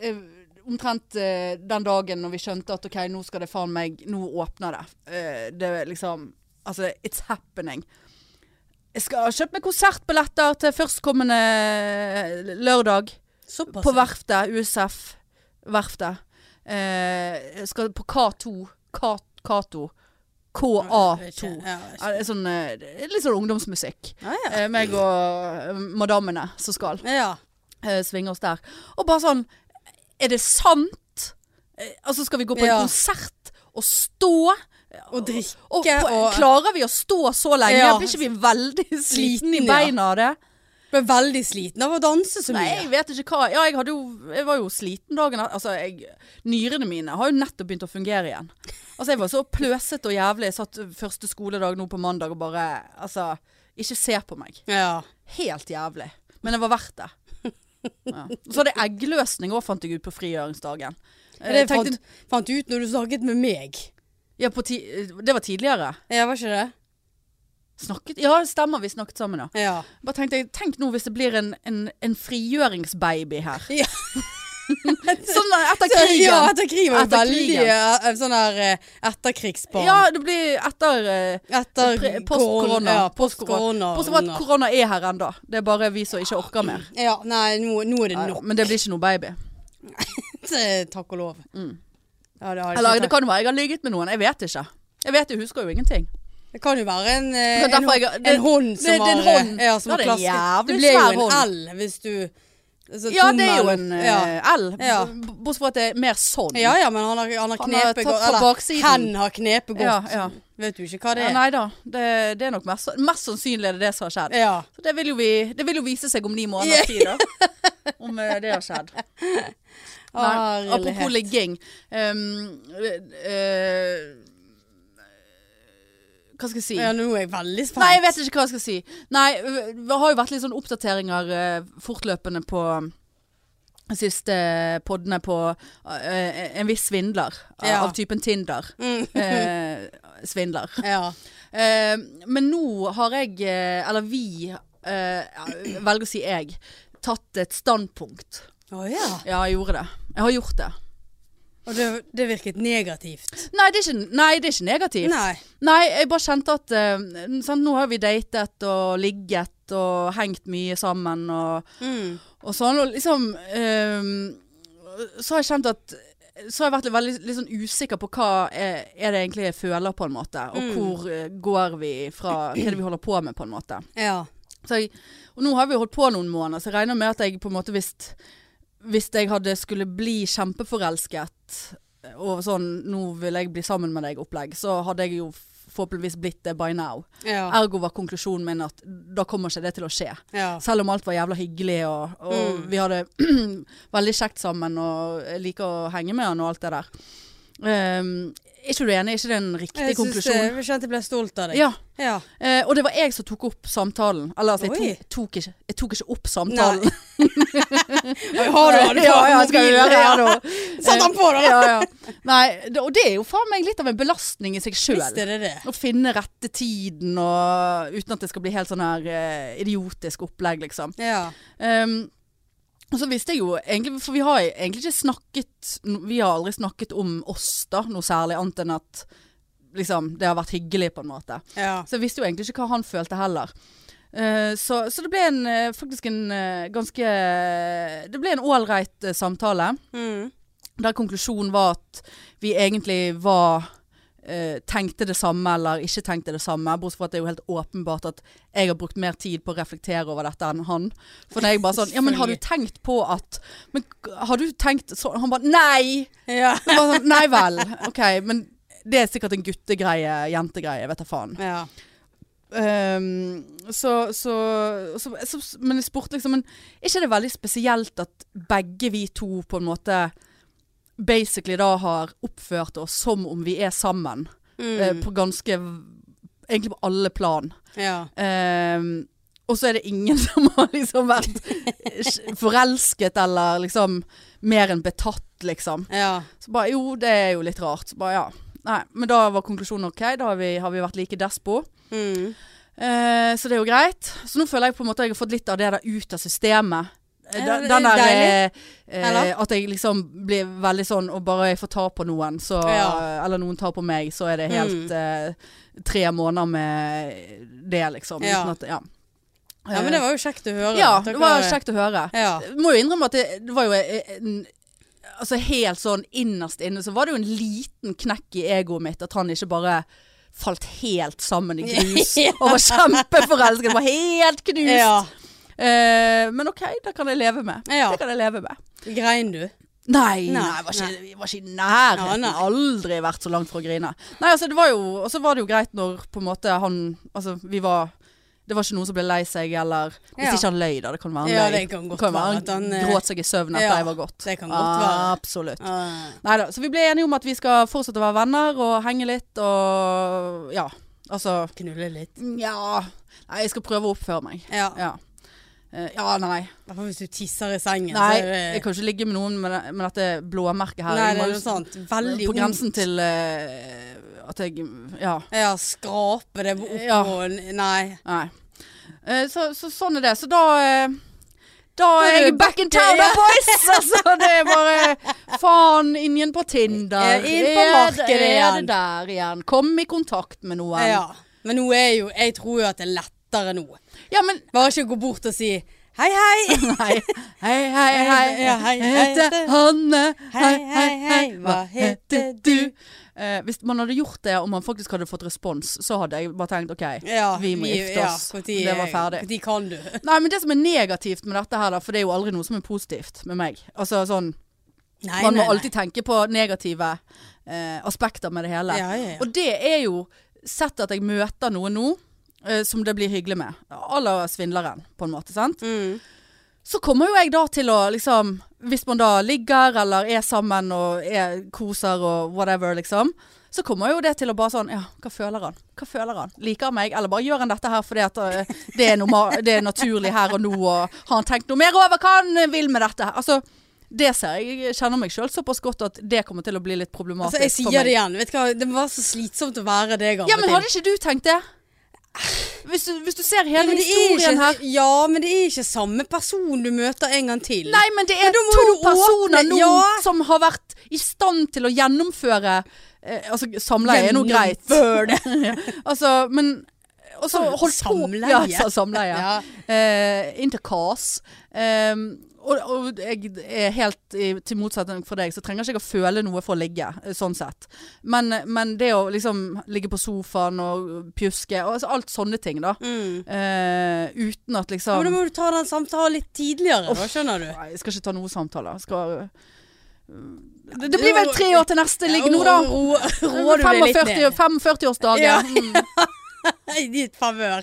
Speaker 2: eh, eh, omtrent eh, den dagen når vi skjønte at ok, nå skal det faen meg Nå åpner det. Eh, det er liksom Altså, it's happening. Jeg skal kjøpe meg konsertbilletter til førstkommende lørdag.
Speaker 1: Såpass.
Speaker 2: På verftet, USF verftet eh, jeg Skal på K2 K- K2 K-A-2
Speaker 1: Ja,
Speaker 2: Ja, det er sånn, eh, det er Litt sånn ungdomsmusikk
Speaker 1: ja. ja.
Speaker 2: eh, Meg og eh, madammene som skal
Speaker 1: ja.
Speaker 2: eh, Svinge oss der Og bare sånn, er det sant? Eh, altså skal vi gå på
Speaker 1: Ja.
Speaker 2: en konsert Og stå
Speaker 1: Og drikke
Speaker 2: og, på,
Speaker 1: og
Speaker 2: Klarer vi å stå så lenge?
Speaker 1: Ja.
Speaker 2: Blir ikke vi veldig sliten i
Speaker 1: Sliten, ja.
Speaker 2: beina av det?
Speaker 1: Ble veldig sliten av å danse så
Speaker 2: Nei,
Speaker 1: mye.
Speaker 2: jeg vet ikke hva. Ja, jeg, hadde jo, jeg var jo sliten dagen etter. Altså, jeg, nyrene mine har jo nettopp begynt å fungere igjen. Altså, jeg var så pløsete og jævlig. Jeg satt første skoledag nå på mandag og bare Altså, ikke se på meg.
Speaker 1: Ja.
Speaker 2: Helt jævlig. Men det var verdt det. Ja. Og så hadde jeg eggløsning òg, fant jeg ut på frigjøringsdagen. Eh,
Speaker 1: Det
Speaker 2: tenkte-
Speaker 1: fant, fant du ut når du snakket med meg.
Speaker 2: ja, på ti, det var tidligere.
Speaker 1: Ja, var ikke det?
Speaker 2: Snakket? Ja, det stemmer, vi snakket sammen, ja.
Speaker 1: Ja.
Speaker 2: Bare tenkte jeg, Tenk nå hvis det blir en, en, en frigjøringsbaby her.
Speaker 1: Ja.
Speaker 2: sånn etter
Speaker 1: Så-
Speaker 2: krigen.
Speaker 1: Ja, etter krigen var det
Speaker 2: Etter
Speaker 1: veldig
Speaker 2: krigen.
Speaker 1: eh, eh, sånn her eh, etterkrigsbarn.
Speaker 2: Ja, det blir etter eh,
Speaker 1: Etter
Speaker 2: pre-
Speaker 1: koron-
Speaker 2: post-korona.
Speaker 1: Ja,
Speaker 2: post-korona.
Speaker 1: post-korona.
Speaker 2: Bortsett fra at korona er her ennå. Det er bare vi som ikke orker mer.
Speaker 1: Ja, nei, nå, nå er det nok.
Speaker 2: Men det blir ikke noe baby.
Speaker 1: Eh, Takk og lov. Ja, det, har
Speaker 2: Eller
Speaker 1: jeg ikke
Speaker 2: det
Speaker 1: tenkt.
Speaker 2: kan jo være Mm. jeg har ligget med noen. Jeg vet ikke. Jeg vet, jeg husker jo ingenting.
Speaker 1: det kan jo være en, eh,
Speaker 2: Det er
Speaker 1: en,
Speaker 2: derfor jeg-
Speaker 1: hå-
Speaker 2: det-
Speaker 1: en hånd
Speaker 2: det-
Speaker 1: som
Speaker 2: det er en
Speaker 1: har, eh,
Speaker 2: hånd.
Speaker 1: ja, som
Speaker 2: Ja,
Speaker 1: har
Speaker 2: det er en
Speaker 1: klasket.
Speaker 2: jævlig
Speaker 1: Det ble jo
Speaker 2: svær
Speaker 1: en
Speaker 2: hånd.
Speaker 1: L hvis du altså,
Speaker 2: Ja, det er jo
Speaker 1: tommel-
Speaker 2: en
Speaker 1: ja.
Speaker 2: eh, L.
Speaker 1: Ja.
Speaker 2: B- Bortsett fra at det er mer sånn.
Speaker 1: ja ja, men han har, han har
Speaker 2: Han har tatt
Speaker 1: knepet godt.
Speaker 2: fra baksiden.
Speaker 1: Eller hen har knepet
Speaker 2: Ja,
Speaker 1: godt.
Speaker 2: ja.
Speaker 1: Vet du ikke hva det
Speaker 2: Ja,
Speaker 1: er?
Speaker 2: nei da. Det, det er nok mest, mest sannsynlig er det det som har skjedd.
Speaker 1: Ja.
Speaker 2: Så det vil jo, vi, det vil jo vise seg om ni måneder tid, da. Om eh, det har skjedd. Nei,
Speaker 1: Herlighet.
Speaker 2: apropos ligging. ehm, eh, eh, hva skal jeg si?
Speaker 1: Ja, nå er jeg veldig spent.
Speaker 2: Nei, jeg vet ikke hva jeg skal si. Nei, øh, det har jo vært litt sånn oppdateringer eh, fortløpende på de siste poddene på eh, en viss svindler av,
Speaker 1: Ja.
Speaker 2: av typen Tinder. Eh, svindler.
Speaker 1: Mm. Ja.
Speaker 2: Eh, men nå har jeg, eh, eller vi, eh, velger å si jeg, tatt et standpunkt.
Speaker 1: Å ja.
Speaker 2: Ja, jeg gjorde det. Jeg har gjort det.
Speaker 1: Og det, det virket negativt.
Speaker 2: Nei, det er ikke, nei, det er ikke negativt.
Speaker 1: Nei.
Speaker 2: Nei, jeg bare kjente at eh, sant, Nå har vi datet og ligget og hengt mye sammen og,
Speaker 1: Mm.
Speaker 2: og sånn. Og liksom eh, Så har jeg kjent at Så har jeg vært litt, veldig litt sånn usikker på hva er, er det egentlig jeg føler, på en måte. Og
Speaker 1: Mm.
Speaker 2: hvor eh, går vi fra Hva er det vi holder på med, på en måte.
Speaker 1: Ja.
Speaker 2: Så jeg, og nå har vi holdt på noen måneder, så jeg regner med at jeg på en måte hvis Hvis jeg hadde skulle bli kjempeforelsket og sånn 'Nå vil jeg bli sammen med deg'-opplegg, så hadde jeg jo forhåpentligvis blitt det by now.
Speaker 1: Ja.
Speaker 2: Ergo var konklusjonen min at da kommer ikke det til å skje.
Speaker 1: ja.
Speaker 2: Selv om alt var jævla hyggelig og, og
Speaker 1: Mm.
Speaker 2: vi hadde veldig kjekt sammen og jeg liker å henge med han og alt det der. Ehm, er ikke du enig? Er ikke det en riktig
Speaker 1: Jeg syns det,
Speaker 2: konklusjon?
Speaker 1: jeg kjente jeg ble stolt av deg.
Speaker 2: Ja.
Speaker 1: ja.
Speaker 2: Eh, og det var jeg som tok opp samtalen. Eller altså, jeg
Speaker 1: Oi.
Speaker 2: tok, tok ikke, jeg tok ikke opp samtalen.
Speaker 1: Har du har du
Speaker 2: ja, ja,
Speaker 1: mobilen?
Speaker 2: skal vi gjøre det?
Speaker 1: Ja.
Speaker 2: Ja, da.
Speaker 1: Satt han på da?
Speaker 2: ja, ja. Nei, det, og det er jo faen meg litt av en belastning i seg
Speaker 1: Visst
Speaker 2: sjøl.
Speaker 1: er det det.
Speaker 2: Å finne rette tiden og uten at det skal bli helt sånn her eh, idiotisk opplegg, liksom.
Speaker 1: Ja.
Speaker 2: Ehm, og så visste jeg jo egentlig For vi har egentlig ikke snakket Vi har aldri snakket om oss, da, noe særlig, annet enn at liksom, det har vært hyggelig, på en måte.
Speaker 1: ja.
Speaker 2: Så jeg visste jo egentlig ikke hva han følte heller. Eh, så, så det ble en, eh, faktisk en eh, ganske Det ble en ålreit eh, samtale.
Speaker 1: Mm.
Speaker 2: Der konklusjonen var at vi egentlig var eh, Tenkte det samme eller ikke tenkte det samme. Bortsett fra at det er jo helt åpenbart at jeg har brukt mer tid på å reflektere over dette enn han. For når jeg bare sånn Ja, men har du tenkt på at Men har du tenkt sånn? Han bare Nei!
Speaker 1: Ja.
Speaker 2: Jeg bare sånn, Nei vel. OK, men det er sikkert en guttegreie, jentegreie, vet da faen.
Speaker 1: ja.
Speaker 2: Ehm, så, så, så, så Men jeg spurte liksom Men er ikke det veldig spesielt at begge vi to på en måte Basically da har oppført oss som om vi er sammen
Speaker 1: Mm.
Speaker 2: eh, På ganske Egentlig på alle plan
Speaker 1: ja.
Speaker 2: Ehm, Og så er det ingen som har liksom vært Forelsket eller liksom Mer enn betatt liksom
Speaker 1: Ja.
Speaker 2: så bare, jo, det er jo litt rart. Så bare, ja. Nei, men da var konklusjonen ok, da har vi, har vi vært like despo.
Speaker 1: Mm.
Speaker 2: Eh, så det er jo greit. Så nå føler jeg på en måte jeg har fått litt av det der ut av systemet. Eh,
Speaker 1: Ja,
Speaker 2: Den,
Speaker 1: det er
Speaker 2: den der eh,
Speaker 1: deilig.
Speaker 2: eh,
Speaker 1: Eller?
Speaker 2: At jeg liksom blir veldig sånn Og bare jeg får ta på noen, så eh,
Speaker 1: Ja. Mm.
Speaker 2: Eller noen tar på meg, så er det helt eh, tre måneder med det, liksom.
Speaker 1: Ja.
Speaker 2: Uten at Ja. Eh,
Speaker 1: ja, men det var jo kjekt å høre.
Speaker 2: ja,
Speaker 1: Takk
Speaker 2: det
Speaker 1: for-
Speaker 2: var kjekt å høre.
Speaker 1: Ja.
Speaker 2: Jeg må jo innrømme at det, det var jo eh, en Altså helt sånn innerst inne så var det jo en liten knekk i egoet mitt at han ikke bare falt helt sammen i grus
Speaker 1: Ja.
Speaker 2: og var kjempeforelsket. Det var helt knust.
Speaker 1: ja.
Speaker 2: Eh, men OK, det kan jeg leve med.
Speaker 1: Ja.
Speaker 2: Det kan jeg leve med.
Speaker 1: Grein du?
Speaker 2: Nei,
Speaker 1: Nei,
Speaker 2: nei, jeg var ikke, jeg var ikke i nærheten.
Speaker 1: Ja, nei.
Speaker 2: Aldri vært så langt fra å grine. Nei, altså, det var jo, og så var det jo greit når på en måte han Altså, vi var Det var ikke noen som ble lei seg, eller Hvis
Speaker 1: Ja.
Speaker 2: ikke han løy, da. Det kan være han
Speaker 1: Ja,
Speaker 2: løy.
Speaker 1: det kan godt
Speaker 2: jo
Speaker 1: være at han, eh,
Speaker 2: gråt seg i søvn etter
Speaker 1: ja,
Speaker 2: jeg var gått.
Speaker 1: det kan godt være.
Speaker 2: Absolutt.
Speaker 1: Ah.
Speaker 2: Nei da. Så vi ble enige om at vi skal fortsette å være venner og henge litt og Ja. Altså
Speaker 1: Knulle litt.
Speaker 2: Nja. Nei, jeg skal prøve å oppføre meg.
Speaker 1: Ja.
Speaker 2: Ja. Eh, Ja, nei.
Speaker 1: Hvert fall hvis du tisser i sengen.
Speaker 2: Nei,
Speaker 1: så er
Speaker 2: jeg
Speaker 1: det,
Speaker 2: kan ikke ligge med noen med, med dette blåmerket her.
Speaker 1: nei
Speaker 2: Jeg
Speaker 1: det
Speaker 2: må
Speaker 1: er sånn
Speaker 2: jo
Speaker 1: noe sånt. Veldig
Speaker 2: på
Speaker 1: ondt.
Speaker 2: grensen til eh, at jeg Ja.
Speaker 1: Ja, skrape det opp
Speaker 2: Ja.
Speaker 1: og Nei.
Speaker 2: Nei. Eh, så, så sånn er det. Så da eh, Da er
Speaker 1: er
Speaker 2: jeg
Speaker 1: du
Speaker 2: back in town, da, boys! Altså, det er bare Faen, inn igjen på Tinder.
Speaker 1: Eh, inn på
Speaker 2: Er det-
Speaker 1: markedet
Speaker 2: Er
Speaker 1: igjen.
Speaker 2: det der igjen? Kom i kontakt med noen.
Speaker 1: Ja. Men nå er jo Jeg tror jo at det er lettere nå.
Speaker 2: Ja, men
Speaker 1: Bare ikke gå bort og si hei, hei.
Speaker 2: Hei, hei, hei, hei.
Speaker 1: Ja, hei,
Speaker 2: Jeg
Speaker 1: hei.
Speaker 2: heter Hanne.
Speaker 1: Hei, hei, hei. Hva heter du?
Speaker 2: Eh, hvis man hadde gjort det, og man faktisk hadde fått respons, så hadde jeg bare tenkt OK,
Speaker 1: Ja,
Speaker 2: vi må gifte oss.
Speaker 1: Ja, hvor tid
Speaker 2: det var
Speaker 1: er-
Speaker 2: ferdig.
Speaker 1: hvor tid kan du?
Speaker 2: Nei, men det som er negativt med dette her, da, for det er jo aldri noe som er positivt med meg. Altså sånn
Speaker 1: Nei,
Speaker 2: Man må
Speaker 1: nei, nei.
Speaker 2: alltid tenke på negative eh, aspekter med det hele.
Speaker 1: Ja, ja, ja.
Speaker 2: Og det er jo Sett at jeg møter noen nå eh, som det blir hyggelig med. À la svindleren, på en måte. sant?
Speaker 1: Mm.
Speaker 2: Så kommer jo jeg da til å liksom Hvis man da ligger eller er sammen og er, koser og whatever, liksom. Så kommer jo det til å bare sånn Ja, hva føler han? Hva føler han? Liker han meg? Eller bare gjør han dette her fordi at eh, det er, norma- det er naturlig her og nå, og har han tenkt noe mer over hva han vil med dette? her? Altså, det ser jeg. Jeg kjenner meg sjøl såpass godt at det kommer til å bli litt
Speaker 1: Altså,
Speaker 2: problematisk
Speaker 1: jeg
Speaker 2: for
Speaker 1: sier
Speaker 2: meg.
Speaker 1: det igjen. Vet du hva? Det var så slitsomt å være deg av og
Speaker 2: Ja, men
Speaker 1: til.
Speaker 2: hadde ikke du tenkt det? Hvis du, hvis du ser
Speaker 1: Ja,
Speaker 2: hele
Speaker 1: men det er
Speaker 2: historien
Speaker 1: ikke,
Speaker 2: her
Speaker 1: Ja, men det er ikke samme person du møter en gang til.
Speaker 2: Nei, men det er
Speaker 1: da må
Speaker 2: to
Speaker 1: du åpne-
Speaker 2: personer nå
Speaker 1: Ja.
Speaker 2: som har vært i stand til å gjennomføre eh, Altså, samleie er nå greit.
Speaker 1: Gjennomfør det.
Speaker 2: Altså, men og så holdt
Speaker 1: Samleie?
Speaker 2: på Ja, jeg sa samleie.
Speaker 1: Ja.
Speaker 2: Eh, Intercas. Ehm, og, og jeg er helt i, til motsetning for deg, så trenger ikke jeg å føle noe for å ligge. eh, Sånn sett. Men, men det å liksom ligge på sofaen og pjuske, og, altså, alt sånne ting, da.
Speaker 1: Mm.
Speaker 2: Eh, uten at
Speaker 1: Ja,
Speaker 2: liksom
Speaker 1: men da må du ta den samtalen litt tidligere, da, skjønner du.
Speaker 2: Nei, jeg skal ikke ta noen samtaler. Jeg Skal, øh, det, det blir vel tre år til neste ligg nå, da.
Speaker 1: Ro, rå du deg litt
Speaker 2: 45
Speaker 1: ned.
Speaker 2: 45-årsdagen.
Speaker 1: Ja.
Speaker 2: Mm.
Speaker 1: I ditt favør.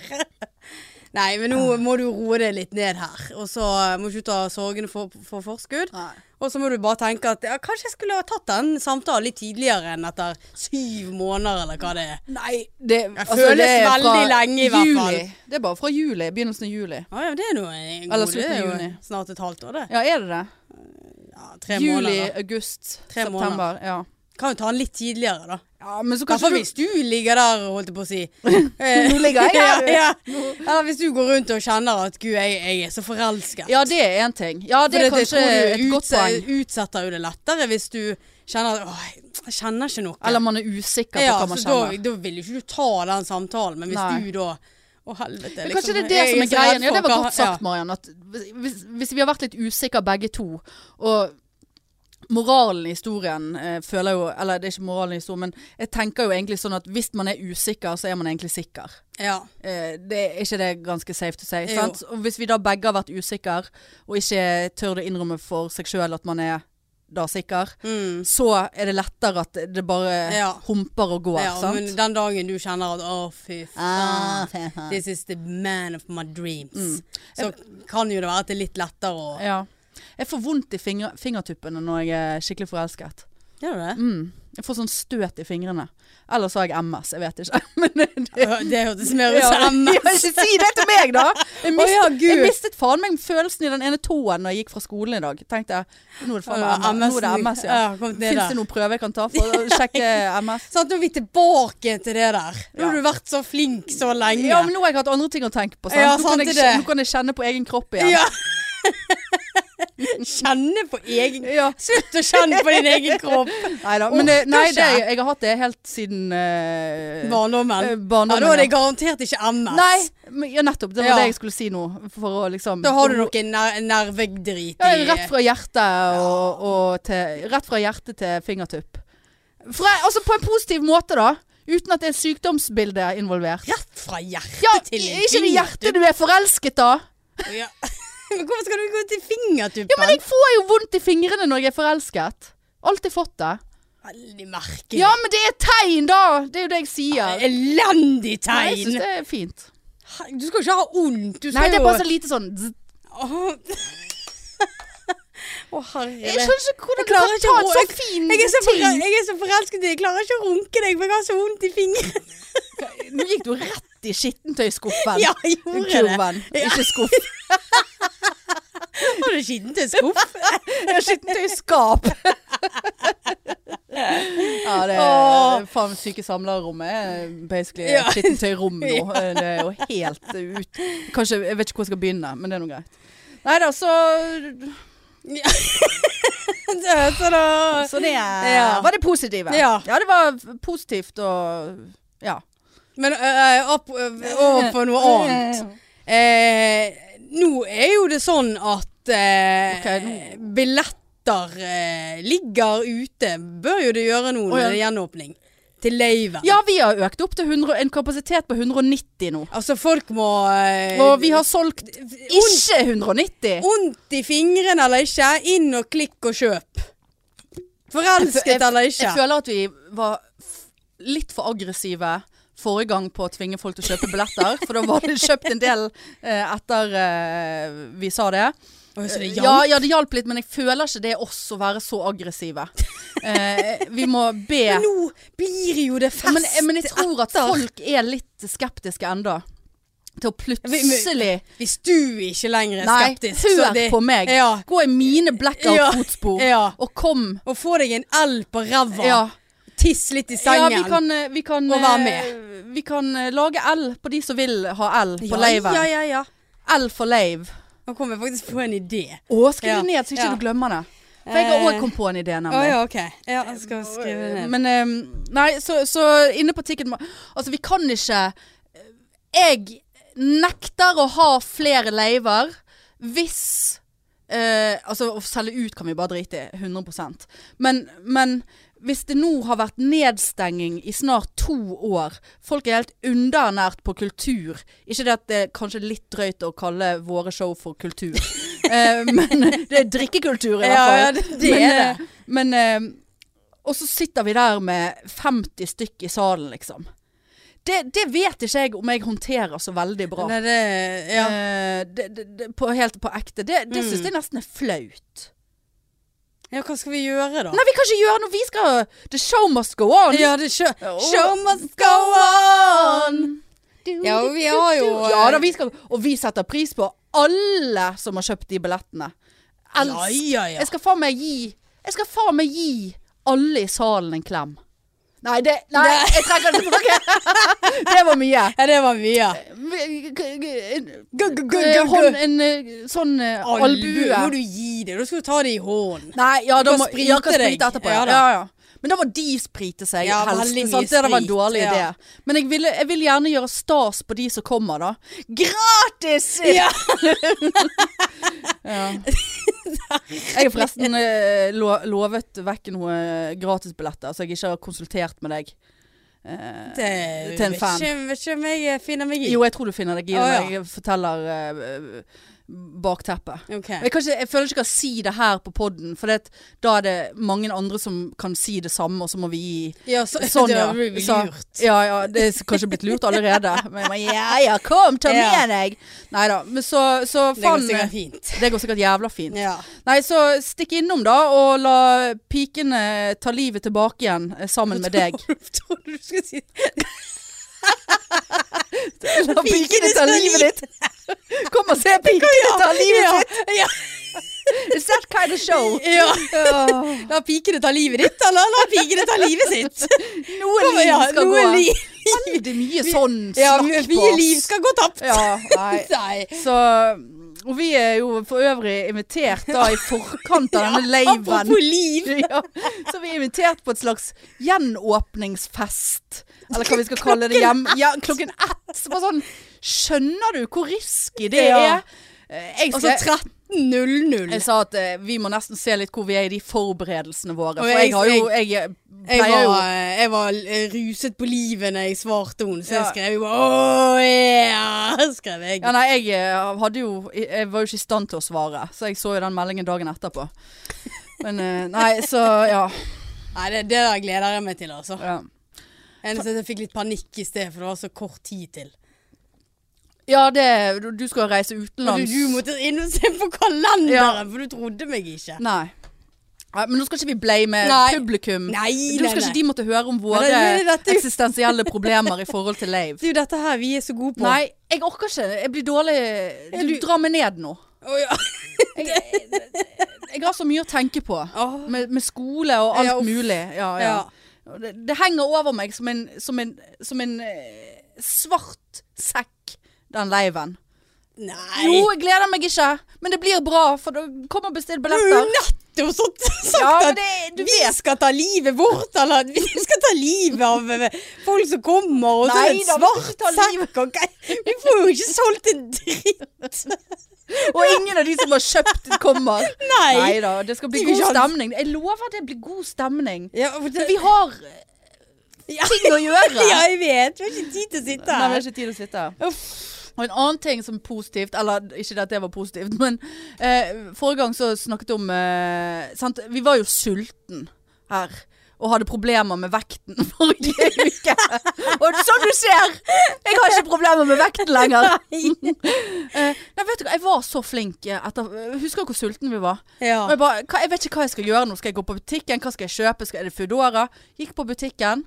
Speaker 1: Nei, men nå må du roe deg litt ned her. Og så må du ikke ta sorgene for, for forskudd. Og så må du bare tenke at ja, kanskje jeg skulle ha tatt den samtalen litt tidligere enn etter syv måneder, eller hva det altså, er.
Speaker 2: Nei, det,
Speaker 1: føles
Speaker 2: det er
Speaker 1: veldig
Speaker 2: fra
Speaker 1: lenge i hvert
Speaker 2: juli.
Speaker 1: fall.
Speaker 2: Det er bare fra juli. Begynnelsen av juli.
Speaker 1: Ja, ja, men det er noe en god
Speaker 2: Eller
Speaker 1: det er
Speaker 2: slutten av
Speaker 1: jo
Speaker 2: juni.
Speaker 1: Snart et halvt år, det.
Speaker 2: Ja, er det det?
Speaker 1: Ja, tre
Speaker 2: juli,
Speaker 1: måneder.
Speaker 2: august,
Speaker 1: Tre
Speaker 2: september.
Speaker 1: måneder.
Speaker 2: Ja.
Speaker 1: Kan jo ta den litt tidligere, da.
Speaker 2: ja, men så kanskje
Speaker 1: Kanskje
Speaker 2: du
Speaker 1: hvis du ligger der, holdt jeg på å si. Eh,
Speaker 2: Nå ligger jeg her.
Speaker 1: ja, ja. Eller hvis du går rundt og kjenner at gud, jeg, jeg er så forelsket.
Speaker 2: Ja, det er én ting. Ja, det er
Speaker 1: For
Speaker 2: kanskje
Speaker 1: jeg tror
Speaker 2: et
Speaker 1: du
Speaker 2: godt poeng.
Speaker 1: Utsetter jo det lettere hvis du kjenner at åh, jeg kjenner ikke noe.
Speaker 2: Eller man er usikker på
Speaker 1: ja,
Speaker 2: hva man
Speaker 1: så
Speaker 2: kjenner.
Speaker 1: Da, da vil jo ikke du ta den samtalen, men hvis
Speaker 2: Nei.
Speaker 1: du da Å, helvete.
Speaker 2: Men kanskje det er det
Speaker 1: liksom, jeg
Speaker 2: som er
Speaker 1: så redd
Speaker 2: greien. Ja,
Speaker 1: for
Speaker 2: det var
Speaker 1: hva-
Speaker 2: godt sagt, Mariann. At hvis, hvis vi har vært litt usikre begge to, og moralen i historien eh, føler jo Eller det er ikke moralen i historien, men jeg tenker jo egentlig sånn at hvis man er usikker, så er man egentlig sikker.
Speaker 1: Ja.
Speaker 2: Eh, det er ikke det ganske safe to say?
Speaker 1: Jo.
Speaker 2: Sant? Og hvis vi da begge har vært usikre, og ikke tør å innrømme for seg sjøl at man er da sikker,
Speaker 1: Mm.
Speaker 2: så er det lettere at det bare
Speaker 1: Ja.
Speaker 2: humper og går.
Speaker 1: ja
Speaker 2: sant?
Speaker 1: men den dagen du kjenner at å, fy
Speaker 2: Ah,
Speaker 1: faen. This is the man of my dreams. Så kan jo det være at det er litt lettere å
Speaker 2: Mm. Ja. Jeg får vondt i finger, fingertuppene når jeg er skikkelig forelsket.
Speaker 1: Gjør du det?
Speaker 2: Mm. Jeg får sånn støt i fingrene. Ellers har jeg MS, jeg vet ikke. Men det, det,
Speaker 1: Ja, Det hørtes mer ut som
Speaker 2: Ja,
Speaker 1: MS.
Speaker 2: ikke si det til meg, da! Jeg
Speaker 1: Å
Speaker 2: mistet,
Speaker 1: ja, Gud.
Speaker 2: jeg mistet faen meg følelsen i den ene tåen når jeg gikk fra skolen i dag. Tenkte jeg, nå er det faen meg MS. Nå er det MS ja.
Speaker 1: kom ned
Speaker 2: Fins
Speaker 1: der.
Speaker 2: det noen prøve jeg kan ta for å sjekke MS?
Speaker 1: Sånn, nå er vi tilbake til det der. Nå har
Speaker 2: Ja.
Speaker 1: du vært så flink så lenge.
Speaker 2: Ja, men nå har jeg hatt andre ting å tenke på. Sant?
Speaker 1: Ja,
Speaker 2: nå,
Speaker 1: sant
Speaker 2: kan jeg,
Speaker 1: er det.
Speaker 2: nå kan jeg kjenne på egen kropp igjen.
Speaker 1: Ja. Kjenne på egen
Speaker 2: Ja.
Speaker 1: Slutt å kjenne på din egen kropp.
Speaker 2: Neida, men det, nei,
Speaker 1: Orker
Speaker 2: det,
Speaker 1: ikke.
Speaker 2: jeg har hatt det helt siden eh, eh,
Speaker 1: Barndommen. Ja,
Speaker 2: barndommen.
Speaker 1: da er
Speaker 2: ja.
Speaker 1: det garantert ikke MS.
Speaker 2: Nei, men, ja, nettopp. Det var
Speaker 1: Ja.
Speaker 2: det jeg skulle si nå. For å liksom
Speaker 1: Da har du noe ner nervedrit
Speaker 2: ja,
Speaker 1: i
Speaker 2: Rett fra hjertet og, og til Rett fra hjerte til fingertupp. Fra, altså på en positiv måte, da. Uten at det er sykdomsbilde involvert.
Speaker 1: Rett fra hjertet
Speaker 2: Ja, i-
Speaker 1: til en
Speaker 2: ikke det hjertet du er forelsket, da?
Speaker 1: fingertupp. Ja. Men hvorfor skal du gå til fingertuppen?
Speaker 2: Men jeg får jo vondt i fingrene når jeg er forelsket. Alltid fått det.
Speaker 1: Veldig merkelig.
Speaker 2: Ja, men det er tegn, da! Det er jo det jeg sier.
Speaker 1: Elendig
Speaker 2: Nei, jeg syns
Speaker 1: tegn.
Speaker 2: det er fint.
Speaker 1: Du skal ikke ha vondt. Du skal
Speaker 2: Nei, det er
Speaker 1: jo
Speaker 2: bare så lite sånn zzz.
Speaker 1: Åh. Å, herre
Speaker 2: Jeg skjønner ikke
Speaker 1: Jeg
Speaker 2: hvordan du
Speaker 1: klarer
Speaker 2: kan
Speaker 1: ikke
Speaker 2: ta
Speaker 1: å-
Speaker 2: en sånn fin
Speaker 1: Jeg er, så forel-
Speaker 2: ting.
Speaker 1: jeg er så forelsket i deg, jeg klarer ikke å runke deg, for jeg har så vondt i fingeren.
Speaker 2: Nå gikk du rett i skittentøyskuffen.
Speaker 1: Ja, jeg gjorde det.
Speaker 2: Kurven, ikke skuff.
Speaker 1: Har du skittentøyskuff?
Speaker 2: Jeg har skittentøyskap. Ja, det
Speaker 1: Åh.
Speaker 2: er faen syke samlerrommet er basically
Speaker 1: Ja.
Speaker 2: et skittentøyrom nå. Det er jo helt ut Kanskje, Jeg vet ikke hvor jeg skal begynne, men det er nå greit. Nei da, så
Speaker 1: Så da
Speaker 2: Så det er,
Speaker 1: Ja.
Speaker 2: var det positive.
Speaker 1: Ja.
Speaker 2: det var positivt og Ja.
Speaker 1: Men øh, opp, øh, over på noe annet. Eh, nå er jo det sånn at eh,
Speaker 2: Ok, nå-
Speaker 1: billetter eh, ligger ute. Bør jo det gjøre nå når
Speaker 2: Å, ja.
Speaker 1: det er gjenåpning. Til laven.
Speaker 2: Ja, vi har økt opp til 100, en kapasitet på 190 nå.
Speaker 1: Altså, folk må eh,
Speaker 2: Og vi har solgt ikke 190.
Speaker 1: Vondt i fingrene eller ikke, inn og klikk og kjøp. Forelsket eller
Speaker 2: Jeg
Speaker 1: ikke.
Speaker 2: føler at vi var f- litt for aggressive forrige gang på å tvinge folk til å kjøpe billetter. For da var det kjøpt en del eh, etter eh, vi sa det.
Speaker 1: Oi, så det
Speaker 2: Ja,
Speaker 1: hjalp.
Speaker 2: ja, det hjalp litt, men jeg føler ikke det er oss å være så aggressive. Eh, vi må be
Speaker 1: Men nå blir jo det fest
Speaker 2: men, eh, men jeg tror at
Speaker 1: etter.
Speaker 2: folk er litt skeptiske enda Til å plutselig
Speaker 1: Hvis du ikke lenger er
Speaker 2: Nei,
Speaker 1: skeptisk,
Speaker 2: hør på meg.
Speaker 1: Ja.
Speaker 2: Gå i mine
Speaker 1: Ja. Eh,
Speaker 2: blackout-fotspor
Speaker 1: ja.
Speaker 2: og kom.
Speaker 1: Og få deg en L på ræva.
Speaker 2: Ja.
Speaker 1: Tiss litt i
Speaker 2: Ja,
Speaker 1: sengen.
Speaker 2: vi kan, eh, vi kan
Speaker 1: Og
Speaker 2: eh,
Speaker 1: være med.
Speaker 2: Vi kan eh, lage L på de som vil ha L på
Speaker 1: ja,
Speaker 2: laven.
Speaker 1: Ja, ja, ja.
Speaker 2: L for lave.
Speaker 1: Nå kom jeg faktisk på en idé.
Speaker 2: Å, skriv
Speaker 1: Ja,
Speaker 2: det ned så ikke
Speaker 1: ja.
Speaker 2: du glemmer det. For jeg har
Speaker 1: Eh,
Speaker 2: òg kommet på en idé,
Speaker 1: Å
Speaker 2: nemlig.
Speaker 1: ja, OK. Ja, jeg skal skrive det ned.
Speaker 2: Men eh, Nei, så, så inne på Ticket Altså, vi kan ikke Jeg nekter å ha flere laver hvis eh, Altså, å selge ut kan vi bare drite i. 100 men, men hvis det nå har vært nedstenging i snart to år Folk er helt underernært på kultur. Ikke det at det er kanskje litt drøyt å kalle våre show for kultur. Eh, men det er drikkekultur, i hvert
Speaker 1: Ja,
Speaker 2: fall.
Speaker 1: ja, det, det
Speaker 2: men,
Speaker 1: er det.
Speaker 2: eh, Men eh, Og så sitter vi der med 50 stykk i salen, liksom. Det, det vet ikke jeg om jeg håndterer så veldig bra.
Speaker 1: Nei, det ja.
Speaker 2: Eh, det, det, det, på, helt på ekte. Det, det
Speaker 1: Mm.
Speaker 2: syns jeg nesten er flaut.
Speaker 1: ja, hva skal vi gjøre, da?
Speaker 2: Nei, vi kan ikke gjøre noe! Vi skal The show must go on!
Speaker 1: Ja, det sjø... Show must go on! Ja, og vi har jo, eh,
Speaker 2: Ja da, vi skal Og vi setter pris på alle som har kjøpt de billettene.
Speaker 1: Ja,
Speaker 2: Elsk
Speaker 1: ja, ja.
Speaker 2: Jeg skal faen meg gi Jeg skal faen meg gi alle i salen en klem. Nei, det, nei
Speaker 1: Nei.
Speaker 2: jeg trekker det tilbake. det var mye.
Speaker 1: Ja, det var mye.
Speaker 2: En, hånd, en eh, sånn eh,
Speaker 1: Albue.
Speaker 2: albue.
Speaker 1: Må du gi det? Da skal du ta det i hånden.
Speaker 2: Nei, ja, da
Speaker 1: kan
Speaker 2: må
Speaker 1: sprite
Speaker 2: ja, kan
Speaker 1: deg.
Speaker 2: sprite etterpå. Ja,
Speaker 1: Ja da.
Speaker 2: ja, ja. Men da må de sprite seg
Speaker 1: Ja,
Speaker 2: helst.
Speaker 1: veldig mye
Speaker 2: sant? Det der var en
Speaker 1: sprit,
Speaker 2: dårlig
Speaker 1: ja.
Speaker 2: idé. Men jeg, ville, jeg vil gjerne gjøre stas på de som kommer, da. Gratis!
Speaker 1: Ja.
Speaker 2: Ja. Jeg har forresten eh, lo lovet vekk noen gratisbilletter, så jeg ikke har konsultert med deg. Eh,
Speaker 1: Det
Speaker 2: Til en fan.
Speaker 1: Vet ikke, vet ikke om jeg eh, finner meg i.
Speaker 2: jo, jeg tror du finner deg i det
Speaker 1: Å,
Speaker 2: når
Speaker 1: ja.
Speaker 2: jeg forteller eh, bakteppet.
Speaker 1: Ok.
Speaker 2: Jeg, kan ikke, jeg føler ikke jeg kan si det her på poden, for det, at da er det mange andre som kan si det samme, og så må vi gi
Speaker 1: Ja, så,
Speaker 2: Sånn, ja.
Speaker 1: Da blir vi
Speaker 2: Så-
Speaker 1: lurt.
Speaker 2: Ja, ja, det er kanskje blitt lurt allerede. Men jeg bare, ja, ja, kom, ta
Speaker 1: Ja.
Speaker 2: med deg. Nei da. Men så, så
Speaker 1: Det går
Speaker 2: faen eh,
Speaker 1: sikkert fint.
Speaker 2: Det går sikkert jævla fint.
Speaker 1: Ja.
Speaker 2: Nei, så stikk innom, da, og la pikene ta livet tilbake igjen eh, sammen med deg.
Speaker 1: Tror du du skulle si
Speaker 2: La
Speaker 1: pikene
Speaker 2: pikene
Speaker 1: ta
Speaker 2: ta livet ditt. Kom og se pikene ta livet ditt.
Speaker 1: Ja.
Speaker 2: It's that kind of show.
Speaker 1: ja.
Speaker 2: Åh,
Speaker 1: La pikene ta livet ditt, eller la pikene ta livet sitt?
Speaker 2: Noe
Speaker 1: Kom,
Speaker 2: liv
Speaker 1: ja,
Speaker 2: skal
Speaker 1: noe
Speaker 2: gå.
Speaker 1: liv.
Speaker 2: Veldig mye sånn
Speaker 1: Ja,
Speaker 2: snakk på
Speaker 1: mye
Speaker 2: oss.
Speaker 1: liv skal gå tapt.
Speaker 2: Ja, nei.
Speaker 1: Nei.
Speaker 2: Så Og vi er jo for øvrig invitert da i forkant av denne laven.
Speaker 1: Apropos liv.
Speaker 2: Ja, så vi er invitert på et slags gjenåpningsfest. Eller hva vi skal kalle det. Hjem, ja, klokken ett. Så bare sånn Skjønner du hvor risky det
Speaker 1: Ja.
Speaker 2: er? Eh, Jeg,
Speaker 1: Altså
Speaker 2: skal,
Speaker 1: 13.00.
Speaker 2: jeg sa at eh, vi må nesten se litt hvor vi er i de forberedelsene våre.
Speaker 1: Og
Speaker 2: For jeg
Speaker 1: jeg-
Speaker 2: har jo Jeg eh,
Speaker 1: Jeg
Speaker 2: pleier jo
Speaker 1: var, jeg var eh, ruset på livet når jeg svarte henne, så jeg
Speaker 2: Ja.
Speaker 1: skrev jo Åh, ja, skrev jeg.
Speaker 2: Ja, nei, jeg, eh, hadde jo, jeg var jo ikke i stand til å svare, så jeg så jo den meldingen dagen etterpå. Men eh, nei, så ja.
Speaker 1: Nei, det, det der gleder jeg meg til, altså.
Speaker 2: Ja,
Speaker 1: Eneste at jeg fikk litt panikk i sted, for det var så kort tid til.
Speaker 2: ja det, du- du skal reise
Speaker 1: Og
Speaker 2: utenlands.
Speaker 1: du, du måtte inn og se på kalenderen,
Speaker 2: Ja.
Speaker 1: for du trodde meg ikke.
Speaker 2: Nei. Nei, Men nå skal ikke vi blame
Speaker 1: Nei.
Speaker 2: publikum.
Speaker 1: Nei,
Speaker 2: Nå
Speaker 1: nei,
Speaker 2: skal ikke
Speaker 1: nei.
Speaker 2: de måtte høre om våre
Speaker 1: Men det- det- dette-
Speaker 2: eksistensielle problemer i forhold til Lave.
Speaker 1: Det er jo dette her vi er så gode på.
Speaker 2: Nei, jeg orker ikke. Jeg blir dårlig
Speaker 1: Ja,
Speaker 2: Du
Speaker 1: du-
Speaker 2: drar meg ned nå.
Speaker 1: Å, ja.
Speaker 2: Jeg, jeg har så mye å tenke på.
Speaker 1: Åh.
Speaker 2: Med, med skole og alt
Speaker 1: Ja, uff.
Speaker 2: mulig. Ja, ja.
Speaker 1: Ja.
Speaker 2: Og Det, det henger over meg som en, som en, som en eh, svart sekk, den leiven.
Speaker 1: Nei!
Speaker 2: Jo, jeg gleder meg ikke, men det blir bra, for da kommer bestilt
Speaker 1: Du har jo
Speaker 2: billetter.
Speaker 1: nettopp sagt
Speaker 2: Ja, men
Speaker 1: at
Speaker 2: det- du
Speaker 1: vi skal ta livet vårt, eller at vi skal ta livet av eh, folk som kommer, og så er det
Speaker 2: Nei
Speaker 1: en
Speaker 2: da, vi skal
Speaker 1: svart
Speaker 2: ikke ta livet.
Speaker 1: sekk og greier. Vi får jo ikke solgt en dritt.
Speaker 2: Og ingen av de som har kjøpt, kommer.
Speaker 1: Nei.
Speaker 2: Nei da, det skal bli
Speaker 1: Det er jo
Speaker 2: god
Speaker 1: ikke han-
Speaker 2: stemning. Jeg lover det blir god stemning.
Speaker 1: Ja, for det-
Speaker 2: Men vi har
Speaker 1: Ja.
Speaker 2: ting å gjøre.
Speaker 1: ja, jeg vet. Vi har ikke tid til å sitte
Speaker 2: Nei, vi har
Speaker 1: her.
Speaker 2: ikke tid å sitte.
Speaker 1: Uff.
Speaker 2: Og en annen ting som er positivt, eller ikke det at det var positivt, men eh, forrige gang så snakket om eh, sant? Vi var jo sulten her. Og hadde problemer med vekten forrige uke. Og som du ser, jeg har ikke problemer med vekten lenger. Eh, nei, vet du hva, jeg var så flink eh, etter Husker du hvor sulten vi var?
Speaker 1: Ja.
Speaker 2: Og jeg, bare, hva, jeg vet ikke hva jeg skal gjøre nå. Skal jeg gå på butikken? Hva skal jeg kjøpe? Skal, er det Foodora? Gikk på butikken,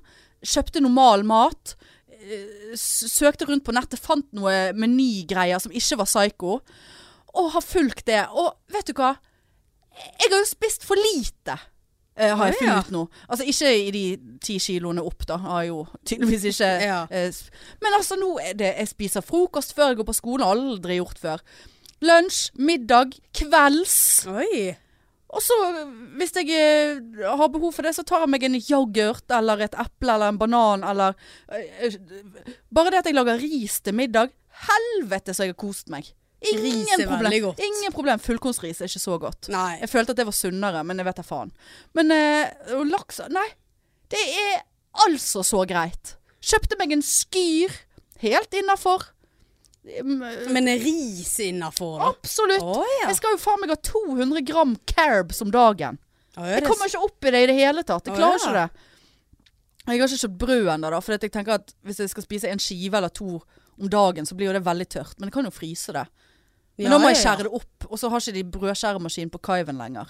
Speaker 2: kjøpte normal mat. eh, s- Søkte rundt på nettet, fant noe menygreier som ikke var psycho. Og har fulgt det. Og vet du hva? Jeg har jo spist for lite. eh, har jeg
Speaker 1: Å, ja.
Speaker 2: funnet ut nå. Altså ikke i de ti kiloene opp, da. Har jeg jo tydeligvis ikke
Speaker 1: Ja.
Speaker 2: eh, sp- Men altså nå er det Jeg spiser frokost før jeg går på skolen. Aldri gjort før. Lunsj, middag, kvelds.
Speaker 1: Oi.
Speaker 2: Og så, øh, hvis jeg øh, har behov for det, så tar jeg meg en yoghurt eller et eple eller en banan eller øh, øh, Bare det at jeg lager ris til middag. Helvete, så jeg har kost meg. Ingen
Speaker 1: Ris er
Speaker 2: problem.
Speaker 1: veldig godt.
Speaker 2: Ingen problem. Fullkornsris er ikke så godt.
Speaker 1: Nei.
Speaker 2: Jeg følte at det var sunnere, men jeg vet da faen. Men øh, og laks Nei. Det er altså så greit. Kjøpte meg en skyr. Helt innafor.
Speaker 1: Men er ris innafor, da?
Speaker 2: Absolutt.
Speaker 1: Å, ja.
Speaker 2: Jeg skal jo faen meg ha 200 gram carbs om dagen.
Speaker 1: Å, ja,
Speaker 2: Jeg
Speaker 1: det-
Speaker 2: kommer ikke opp i det i det hele tatt. Jeg
Speaker 1: Å,
Speaker 2: klarer
Speaker 1: ja.
Speaker 2: ikke det. Jeg har ikke kjøpt brød ennå, da, for jeg tenker at hvis jeg skal spise en skive eller to om dagen, så blir jo det veldig tørt. Men jeg kan jo fryse det. Men
Speaker 1: Ja,
Speaker 2: nå må jeg
Speaker 1: ja, ja.
Speaker 2: skjære det opp, og så har ikke de brødskjæremaskin på kaiven lenger.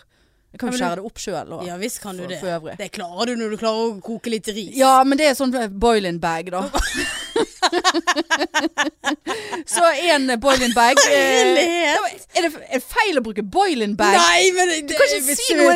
Speaker 2: Jeg kan jo
Speaker 1: Ja, men
Speaker 2: skjære det opp sjøl.
Speaker 1: Ja visst kan du
Speaker 2: For-
Speaker 1: det.
Speaker 2: for øvrig.
Speaker 1: Det klarer du når du klarer å koke litt ris.
Speaker 2: Ja, men det er sånn boil-in bag, da. så en boil-in bag eh,
Speaker 1: Herlighet!
Speaker 2: er, det, er det feil å bruke boil-in bag?
Speaker 1: Nei, men det,
Speaker 2: Du kan ikke si noe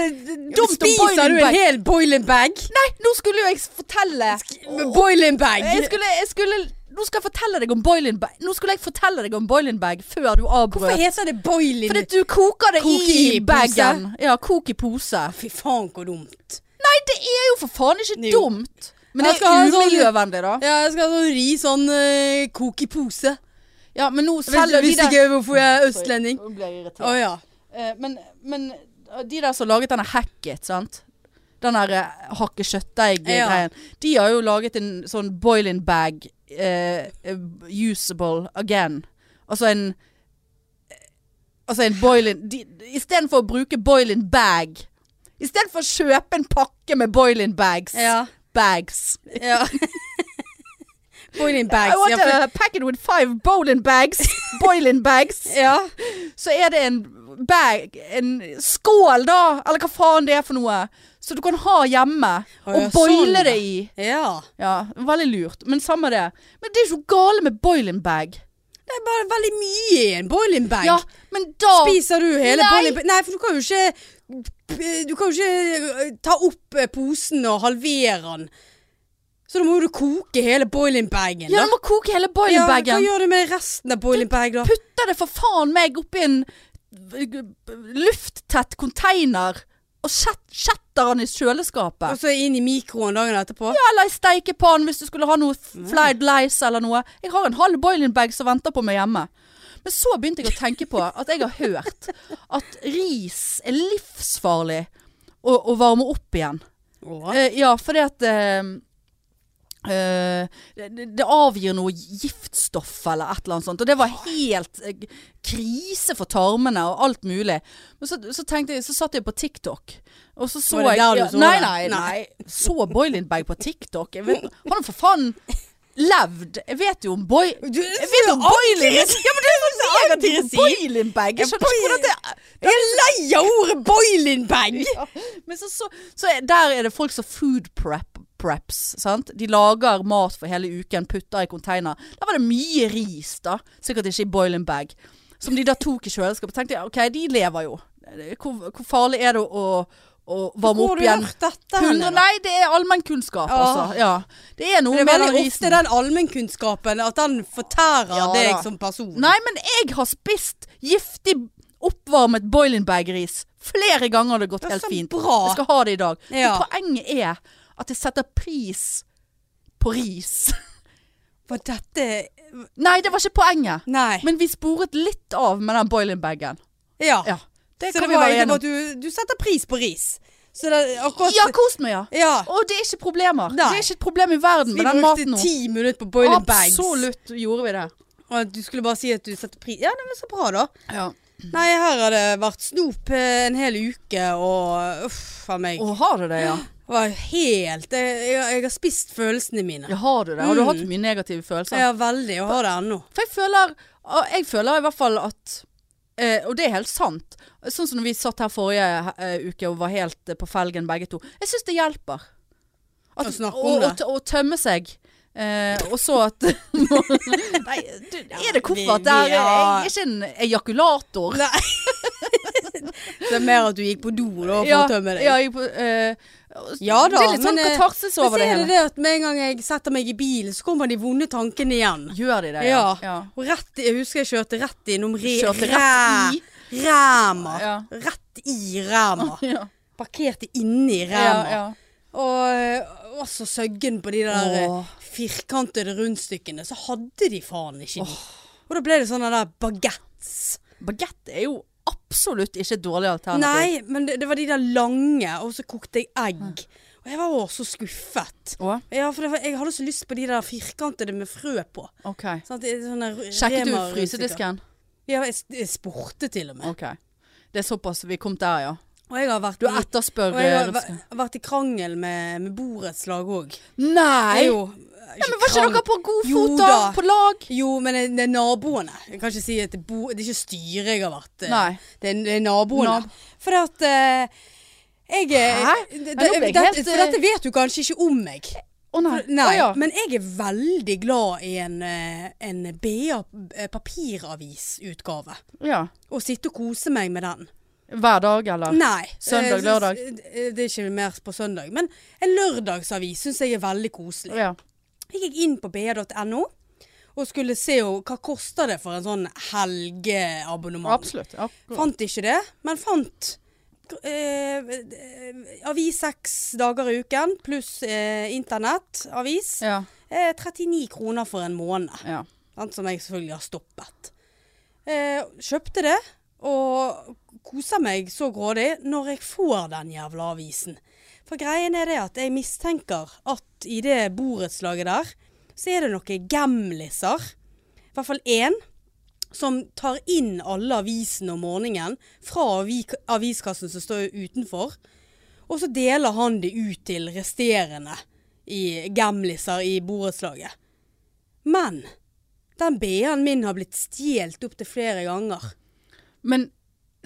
Speaker 2: dumt om
Speaker 1: Spiser
Speaker 2: boil-in
Speaker 1: du en
Speaker 2: bag.
Speaker 1: hel boiling bag?
Speaker 2: Nei, nå skulle jo jeg fortelle
Speaker 1: Med Boiling bag!
Speaker 2: Jeg skulle, jeg skulle Nå skal jeg fortelle deg om boiling bag Nå skulle jeg fortelle deg om boiling bag før du
Speaker 1: Hvorfor
Speaker 2: avbrøt.
Speaker 1: heter det boiling?
Speaker 2: Fordi at du koker det
Speaker 1: Kok
Speaker 2: i,
Speaker 1: i
Speaker 2: bagen. Ja, kok i pose.
Speaker 1: Fy faen, hvor dumt.
Speaker 2: Nei, det er jo for faen ikke
Speaker 1: Jo.
Speaker 2: dumt. Men det
Speaker 1: Jeg skal ha en
Speaker 2: er
Speaker 1: sånn-
Speaker 2: umiljøvennlig, da.
Speaker 1: Ja, jeg skal ha sånn ris sånn
Speaker 2: eh,
Speaker 1: uh, kok i pose.
Speaker 2: Ja, men nå
Speaker 1: Hvis
Speaker 2: selger de
Speaker 1: hvis
Speaker 2: der
Speaker 1: ikke hvorfor jeg er østlending.
Speaker 2: Nå ble jeg irritert.
Speaker 1: Å ja.
Speaker 2: Eh, men, men eh, de der som laget denne hacket, sant? Den der eh, hakke kjøttdeig-greien. De har jo laget en sånn boiling bag eh, eh, usable again. Altså en Altså en boiling Istedenfor å bruke boiling bag Istedenfor å kjøpe en pakke med boiling bags
Speaker 1: ja.
Speaker 2: Bags.
Speaker 1: ja. boiling bags.
Speaker 2: I want
Speaker 1: Ja, for,
Speaker 2: a packet with five bowling bags. Boiling bags.
Speaker 1: ja.
Speaker 2: så er det en bag, en skål da, eller hva faen det er for noe, så du kan ha hjemme
Speaker 1: Å,
Speaker 2: og
Speaker 1: ja,
Speaker 2: boile
Speaker 1: sånn,
Speaker 2: det
Speaker 1: ja.
Speaker 2: i.
Speaker 1: ja.
Speaker 2: Ja, veldig lurt, men samme det. Men det er jo gale med boiling bag.
Speaker 1: Det er bare veldig mye i en boiling bag.
Speaker 2: Ja, men da...
Speaker 1: Spiser du hele
Speaker 2: Nei.
Speaker 1: bollen? Nei, for du kan jo ikke Du kan jo ikke eh, ta opp eh, posen og halvere den. Så da må jo du koke hele boiling bagen.
Speaker 2: Ja,
Speaker 1: da.
Speaker 2: du må koke hele
Speaker 1: Ja,
Speaker 2: boiling
Speaker 1: hva
Speaker 2: bagen.
Speaker 1: gjør du med resten av boiling bag, da?
Speaker 2: Putter det for faen meg oppi en lufttett container og sjett- sjetter han i kjøleskapet.
Speaker 1: Og så inn i mikroen dagen etterpå?
Speaker 2: Eller i steikepann hvis du skulle ha noe fried lice eller noe. Jeg har en halv boiling bag som venter på meg hjemme. Men så begynte jeg å tenke på at jeg har hørt at ris er livsfarlig å, å varme opp igjen.
Speaker 1: Å,
Speaker 2: Eh, ja, fordi at eh, eh, det, det avgir noe giftstoff eller et eller annet sånt. Og det var helt eh, krise for tarmene og alt mulig. Men så, så tenkte jeg, så satt jeg på TikTok. Og så så
Speaker 1: Var det
Speaker 2: jeg
Speaker 1: der du
Speaker 2: ja,
Speaker 1: så
Speaker 2: nei,
Speaker 1: det?
Speaker 2: nei, nei. Så Boiling Bag på TikTok? Jeg vet, har han for faen levd? Jeg vet jo om boy...
Speaker 1: Du
Speaker 2: Jeg vet om boiling
Speaker 1: er så aggressiv!
Speaker 2: Boiling bag! Jeg
Speaker 1: Ja,
Speaker 2: skjønner ikke
Speaker 1: boiling-
Speaker 2: hvordan det
Speaker 1: Jeg er lei av ordet boiling bag!
Speaker 2: Men så, så, så er- der er det folk som food prep, preps, sant? De lager mat for hele uken, putter i container. Der var det mye ris da, sikkert ikke i boiling bag. Som de da tok i kjøleskapet. Tenkte jeg, ok, de lever jo. Hvor, hvor farlig er det å, å varme
Speaker 1: Hvor
Speaker 2: opp
Speaker 1: har du
Speaker 2: igjen?
Speaker 1: hørt dette? hen,
Speaker 2: 100,
Speaker 1: da?
Speaker 2: nei, det er allmennkunnskap,
Speaker 1: Ja.
Speaker 2: altså. Ja. Det er noe
Speaker 1: Det er
Speaker 2: med
Speaker 1: veldig
Speaker 2: den
Speaker 1: ofte
Speaker 2: risen.
Speaker 1: den allmennkunnskapen at den fortærer
Speaker 2: Ja,
Speaker 1: deg
Speaker 2: da.
Speaker 1: som person.
Speaker 2: Nei, men jeg har spist giftig oppvarmet boiling bag-ris. Flere ganger har det gått
Speaker 1: Ja,
Speaker 2: helt
Speaker 1: så
Speaker 2: fint.
Speaker 1: bra.
Speaker 2: Jeg skal ha det i dag.
Speaker 1: Ja.
Speaker 2: Men poenget er at jeg setter pris på ris.
Speaker 1: Var dette
Speaker 2: Nei, det var ikke poenget.
Speaker 1: Nei.
Speaker 2: Men vi sporet litt av med den boiling bagen.
Speaker 1: ja.
Speaker 2: Ja. Det
Speaker 1: Ah, så
Speaker 2: kan
Speaker 1: det
Speaker 2: vi
Speaker 1: var
Speaker 2: være enige
Speaker 1: egentlig bare
Speaker 2: om.
Speaker 1: at du, du setter pris på ris. Så det er akkurat
Speaker 2: Ja, kost meg, ja.
Speaker 1: Ja.
Speaker 2: Og det er ikke problemer.
Speaker 1: Nei.
Speaker 2: Det er ikke et problem i verden
Speaker 1: Vi
Speaker 2: med den
Speaker 1: brukte
Speaker 2: maten nå.
Speaker 1: ti minutter på boiling bags.
Speaker 2: Absolutt gjorde vi det.
Speaker 1: Og at du skulle bare si at du setter pris Ja, det var så bra, da.
Speaker 2: Ja.
Speaker 1: Nei, her har det vært snop eh, en hel uke, og uff a meg.
Speaker 2: Og har du det, ja?
Speaker 1: Det var helt jeg, jeg, jeg har spist følelsene mine.
Speaker 2: Ja, har du det? Har du
Speaker 1: Mm.
Speaker 2: hatt mye negative følelser?
Speaker 1: Ja, veldig. Og har det ennå.
Speaker 2: For jeg føler, og jeg føler i hvert fall at eh, Og det er helt sant. Sånn som når vi satt her forrige eh, uke og var helt eh, på felgen begge to. Jeg syns det hjelper.
Speaker 1: Å snakke om
Speaker 2: å,
Speaker 1: det.
Speaker 2: Å, tømme seg. Eh, og så at Nei, du, er det koffert
Speaker 1: vi- vi
Speaker 2: der? Jeg
Speaker 1: er-
Speaker 2: er ikke en ejakulator.
Speaker 1: Nei. det er mer at du gikk på do da, for å tømme deg.
Speaker 2: Ja, jeg, eh,
Speaker 1: Ja da,
Speaker 2: det er litt sånn
Speaker 1: men, eh,
Speaker 2: katarsis
Speaker 1: Men så
Speaker 2: over det
Speaker 1: er
Speaker 2: hele.
Speaker 1: det det at med en gang jeg setter meg i bilen, så kommer de vonde tankene igjen.
Speaker 2: Gjør de det?
Speaker 1: Ja.
Speaker 2: ja.
Speaker 1: Og rett, jeg husker jeg kjørte rett innom re,
Speaker 2: Kjørte rett i?
Speaker 1: ræ- Ræma.
Speaker 2: Ja.
Speaker 1: Rett i ræma.
Speaker 2: Ja.
Speaker 1: Parkerte inni
Speaker 2: Ja,
Speaker 1: ræma.
Speaker 2: ja.
Speaker 1: Og, eh, og så søggen på de der
Speaker 2: Åh.
Speaker 1: eh, firkantede rundstykkene. Så hadde de faen ikke de. Og da ble det sånne der bagettes.
Speaker 2: Bagett er jo absolutt ikke et dårlig alternativ.
Speaker 1: Nei, men det, det var de der lange, og så kokte jeg egg. Og jeg var også så skuffet.
Speaker 2: Å,
Speaker 1: Ja, for det var, jeg hadde så lyst på de der firkantede med frø på.
Speaker 2: ok.
Speaker 1: Sånn at det er sånne r-
Speaker 2: Sjekket du
Speaker 1: Rema-rundstykker.
Speaker 2: frysedisken?
Speaker 1: Ja, jeg, s- jeg spurte til og med.
Speaker 2: Ok. Det er såpass vi kom der, ja.
Speaker 1: Og jeg har vært,
Speaker 2: Du
Speaker 1: i-
Speaker 2: etterspør
Speaker 1: Mm. og jeg har,
Speaker 2: eh,
Speaker 1: væ- vært i krangel med, med borettslag òg.
Speaker 2: Nei!
Speaker 1: Jo,
Speaker 2: Ja, men var ikke dere på god
Speaker 1: Jo
Speaker 2: fot, da?
Speaker 1: da.
Speaker 2: På lag?
Speaker 1: Jo, men det, det er naboene. Jeg kan ikke si at det, bo, det er ikke styret jeg har vært. eh,
Speaker 2: Nei.
Speaker 1: Det er, det er naboene.
Speaker 2: Nab-
Speaker 1: For at eh, jeg er-
Speaker 2: Hæ?
Speaker 1: det-
Speaker 2: Nei, nå ble jeg
Speaker 1: det-
Speaker 2: helt,
Speaker 1: For dette vet du kanskje ikke om meg.
Speaker 2: Å nei.
Speaker 1: Nei,
Speaker 2: Å, ja.
Speaker 1: men jeg er veldig glad i en, eh, en BA eh, papiravisutgave.
Speaker 2: ja.
Speaker 1: Og sitte og kose meg med den.
Speaker 2: Hver dag, eller?
Speaker 1: Nei.
Speaker 2: Søndag,
Speaker 1: eh,
Speaker 2: lørdag?
Speaker 1: eh, Det er ikke mer på søndag. Men en lørdagsavis syns jeg er veldig koselig.
Speaker 2: Ja.
Speaker 1: Jeg gikk inn på ba.no og skulle se jo, hva koster det for en sånn helgeabonnement.
Speaker 2: Absolutt. Ja.
Speaker 1: Fant ikke det, men fant eh, eh, avis seks dager i uken pluss eh, internettavis.
Speaker 2: Ja.
Speaker 1: Eh, 39 kroner for en måned,
Speaker 2: ja.
Speaker 1: sant, som jeg selvfølgelig har stoppet. Eh, kjøpte det og koser meg så grådig når jeg får den jævla avisen. For greien er det at jeg mistenker at i det borettslaget der, så er det noen gamliser, i hvert fall én, som tar inn alle avisene om morgenen fra avi- aviskassen som står utenfor, og så deler han det ut til resterende i gamliser i borettslaget. Men den BH-en min har blitt stjålet opptil flere ganger.
Speaker 2: Men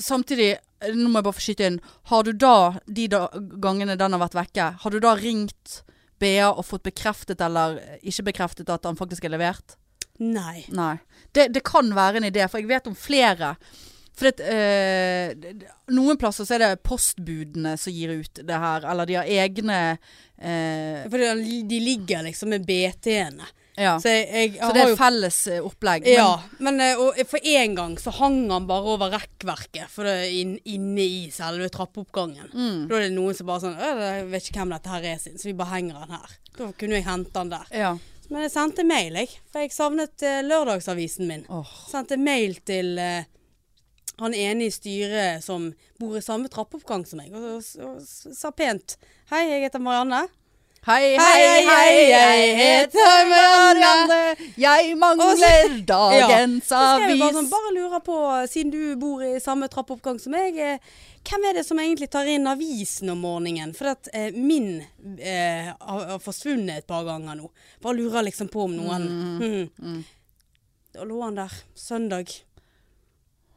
Speaker 2: samtidig, nå må jeg bare få skyte inn. Har du da, de da, gangene den har vært vekke, har du da ringt BA og fått bekreftet eller ikke bekreftet at han faktisk er levert?
Speaker 1: Nei.
Speaker 2: Nei. Det, det kan være en idé, for jeg vet om flere. For det, eh, det- det- noen plasser så er det postbudene som gir ut det her, eller de har egne eh,
Speaker 1: For det- de ligger liksom med BT-ene.
Speaker 2: Ja.
Speaker 1: Så jeg, jeg
Speaker 2: Så det
Speaker 1: har
Speaker 2: er
Speaker 1: jo
Speaker 2: felles eh, opplegg. Men-
Speaker 1: Ja, men eh, og for en gang så hang han bare over rekkverket for det, er inn, inne i selve trappeoppgangen.
Speaker 2: Mm.
Speaker 1: Da er det noen som bare sånn «Å, Jeg vet ikke hvem dette her er sin, så vi bare henger han her. Da kunne jeg hente han der.
Speaker 2: ja.
Speaker 1: Men jeg sendte mail, jeg. For jeg savnet eh, lørdagsavisen min.
Speaker 2: Åh.
Speaker 1: Sendte mail til eh, han ene i styret som bor i samme trappeoppgang som meg, og, og, og, s- sa pent Hei, jeg heter Marianne.
Speaker 2: Hei,
Speaker 1: Hei,
Speaker 2: hei, hei, jeg heter Marianne. Jeg mangler
Speaker 1: Ja.
Speaker 2: dagens
Speaker 1: Så skrev jeg bare sånn,
Speaker 2: avis.
Speaker 1: bare lurer på, siden du bor i samme trappeoppgang som meg, eh, hvem er det som egentlig tar inn avisen om morgenen? For at eh, min eh, har har forsvunnet et par ganger nå. Bare lurer liksom
Speaker 2: Mm,
Speaker 1: Mhm. på om noen. Hmm. Da lå han der, søndag.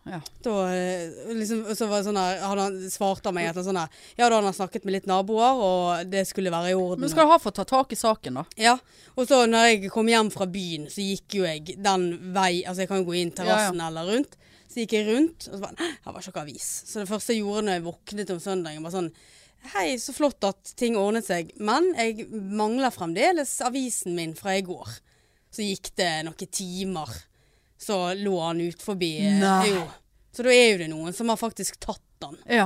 Speaker 2: Ja.
Speaker 1: Da, eh, liksom, og så var det sånn her, hadde han svarte han meg etter sånn her Ja, da hadde han snakket med litt naboer, og det skulle være i orden.
Speaker 2: Men skal du ha for å ta tak i saken, da?
Speaker 1: Ja, og så når jeg kom hjem fra byen, så gikk jo jeg den vei, altså jeg kan jo gå inn terrassen eller rundt. Så gikk jeg rundt, og så bare, "Hæ, her var ikke avis. Så det første jeg gjorde når jeg våknet om søndagen, var sånn, hei, så flott at ting ordnet seg, men jeg mangler fremdeles avisen min fra i går. Så gikk det noen timer, så lå han ut forbi. eh,
Speaker 2: Nei.
Speaker 1: Jo. Så da er jo det noen som har faktisk tatt den.
Speaker 2: Ja.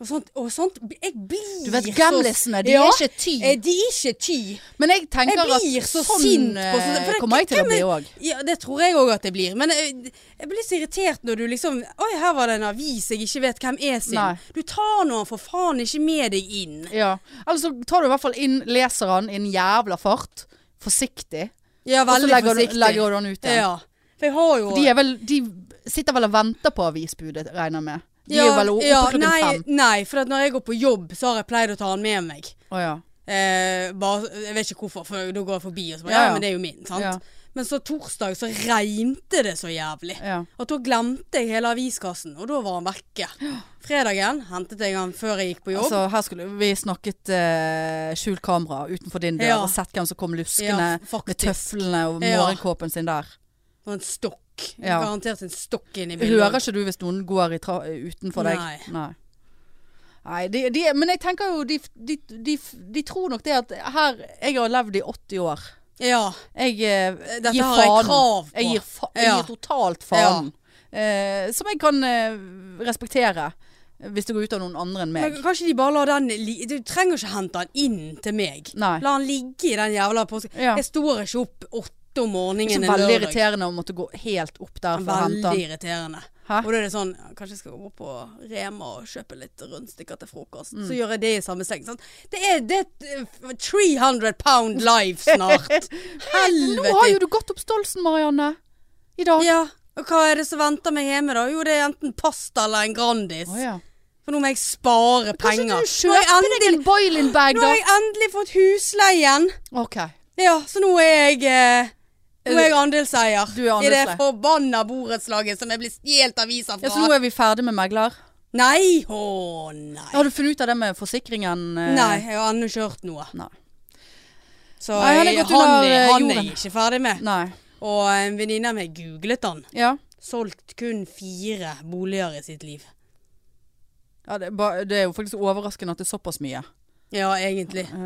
Speaker 1: Og sånt, og sånt jeg blir
Speaker 2: Du vet,
Speaker 1: så-
Speaker 2: gamlisene, de
Speaker 1: Ja,
Speaker 2: er ikke ty.
Speaker 1: eh, De er ikke ty.
Speaker 2: Men jeg tenker
Speaker 1: Jeg blir
Speaker 2: at
Speaker 1: så
Speaker 2: sånn
Speaker 1: sint
Speaker 2: eh,
Speaker 1: på sånne- for det-
Speaker 2: kommer jeg til å
Speaker 1: hvem
Speaker 2: bli
Speaker 1: er-
Speaker 2: òg.
Speaker 1: Ja, det tror jeg òg at det blir. Men jeg, jeg blir så irritert når du liksom Oi, her var det en avis jeg ikke vet hvem er sin.
Speaker 2: Nei.
Speaker 1: Du tar nå for faen ikke med deg inn.
Speaker 2: Ja. Eller så tar du i hvert fall inn leseren i en jævla fart. Forsiktig.
Speaker 1: Ja,
Speaker 2: Og så
Speaker 1: veldig
Speaker 2: legger, du-
Speaker 1: forsiktig.
Speaker 2: legger du den ut igjen.
Speaker 1: ja. For jeg har jo
Speaker 2: De, er vel, de sitter vel og venter på avisbudet, regner jeg med. De er jo vel oppe
Speaker 1: ja,
Speaker 2: klokken
Speaker 1: nei,
Speaker 2: fem.
Speaker 1: Nei, for at når jeg går på jobb, så har jeg pleid å ta den med meg.
Speaker 2: Å ja.
Speaker 1: Eh, bare, jeg vet ikke hvorfor, for da går jeg forbi og så bare
Speaker 2: Ja,
Speaker 1: Ja,
Speaker 2: ja.
Speaker 1: men det er jo min, sant.
Speaker 2: Ja.
Speaker 1: Men så torsdag så regnte det så jævlig.
Speaker 2: Ja.
Speaker 1: At da glemte jeg hele aviskassen, og da var han vekke. Fredagen hentet jeg han før jeg gikk på jobb.
Speaker 2: Altså, her skulle vi snakket eh, skjult kamera utenfor din dør
Speaker 1: Ja.
Speaker 2: og sett hvem som kom luskende
Speaker 1: Ja,
Speaker 2: med
Speaker 1: faktisk.
Speaker 2: tøflene og
Speaker 1: Ja.
Speaker 2: morgenkåpen sin der.
Speaker 1: Og en stokk.
Speaker 2: Ja.
Speaker 1: Garantert en stokk inn i
Speaker 2: Hører
Speaker 1: vinduet.
Speaker 2: ikke du hvis noen går i tra utenfor deg?
Speaker 1: Nei.
Speaker 2: Nei. Nei, de, de, men jeg tenker jo de, de, de, de tror nok det at her Jeg har levd i 80 år.
Speaker 1: Ja.
Speaker 2: Jeg eh,
Speaker 1: Dette
Speaker 2: gir
Speaker 1: har jeg
Speaker 2: faen.
Speaker 1: krav på.
Speaker 2: Jeg gir, fa jeg
Speaker 1: Ja.
Speaker 2: gir totalt faen. Eh, som jeg kan eh, respektere. Hvis det går ut av noen andre enn meg.
Speaker 1: Men kanskje de bare lar den li Du trenger ikke hente han inn til meg.
Speaker 2: Nei.
Speaker 1: La han ligge i den jævla påsken.
Speaker 2: Ja.
Speaker 1: Jeg står ikke opp åtte om
Speaker 2: Det er
Speaker 1: morgenen
Speaker 2: ikke
Speaker 1: en
Speaker 2: veldig
Speaker 1: lørdag.
Speaker 2: irriterende å måtte gå helt opp der for å hente
Speaker 1: Veldig
Speaker 2: den.
Speaker 1: irriterende.
Speaker 2: Hæ?
Speaker 1: Og da er det sånn ja, Kanskje jeg skal gå på Rema og kjøpe litt rundstykker til frokost.
Speaker 2: Mm.
Speaker 1: Så gjør jeg det i samme seng. Sant? Det er det er et, eh, 300 pound live snart.
Speaker 2: Nå har jo
Speaker 1: Helvete.
Speaker 2: du gått opp stolsen, Marianne. I dag.
Speaker 1: Ja. Og hva er det som venter meg hjemme, da? Jo, det er enten pasta eller en Grandis.
Speaker 2: Å, ja.
Speaker 1: For nå må jeg spare
Speaker 2: Kanskje du
Speaker 1: penger. Nå har jeg
Speaker 2: kjøper deg en
Speaker 1: endelig,
Speaker 2: boiling-bag,
Speaker 1: nå
Speaker 2: da?
Speaker 1: har jeg endelig fått husleien.
Speaker 2: Ok.
Speaker 1: Ja, så nå er jeg eh, nå er jeg andelseier
Speaker 2: Du er
Speaker 1: i det
Speaker 2: andelseier.
Speaker 1: forbanna borettslaget som jeg blir stjålet aviser
Speaker 2: Ja,
Speaker 1: fra.
Speaker 2: så nå er vi ferdig med megler.
Speaker 1: Nei! Å nei.
Speaker 2: Har du funnet ut av det med forsikringen? eh?
Speaker 1: Nei, jeg har ennå ikke hørt noe.
Speaker 2: Nei.
Speaker 1: Så
Speaker 2: Nei, han
Speaker 1: han
Speaker 2: er
Speaker 1: er,
Speaker 2: gått
Speaker 1: han,
Speaker 2: under, eh,
Speaker 1: er, han er
Speaker 2: jorden.
Speaker 1: jeg ikke ferdig med.
Speaker 2: Nei.
Speaker 1: Og en venninne av meg googlet han.
Speaker 2: Ja.
Speaker 1: Solgt kun fire boliger i sitt liv.
Speaker 2: ja det, er ba, det er jo faktisk overraskende at det er såpass mye.
Speaker 1: Ja, egentlig.
Speaker 2: Eh,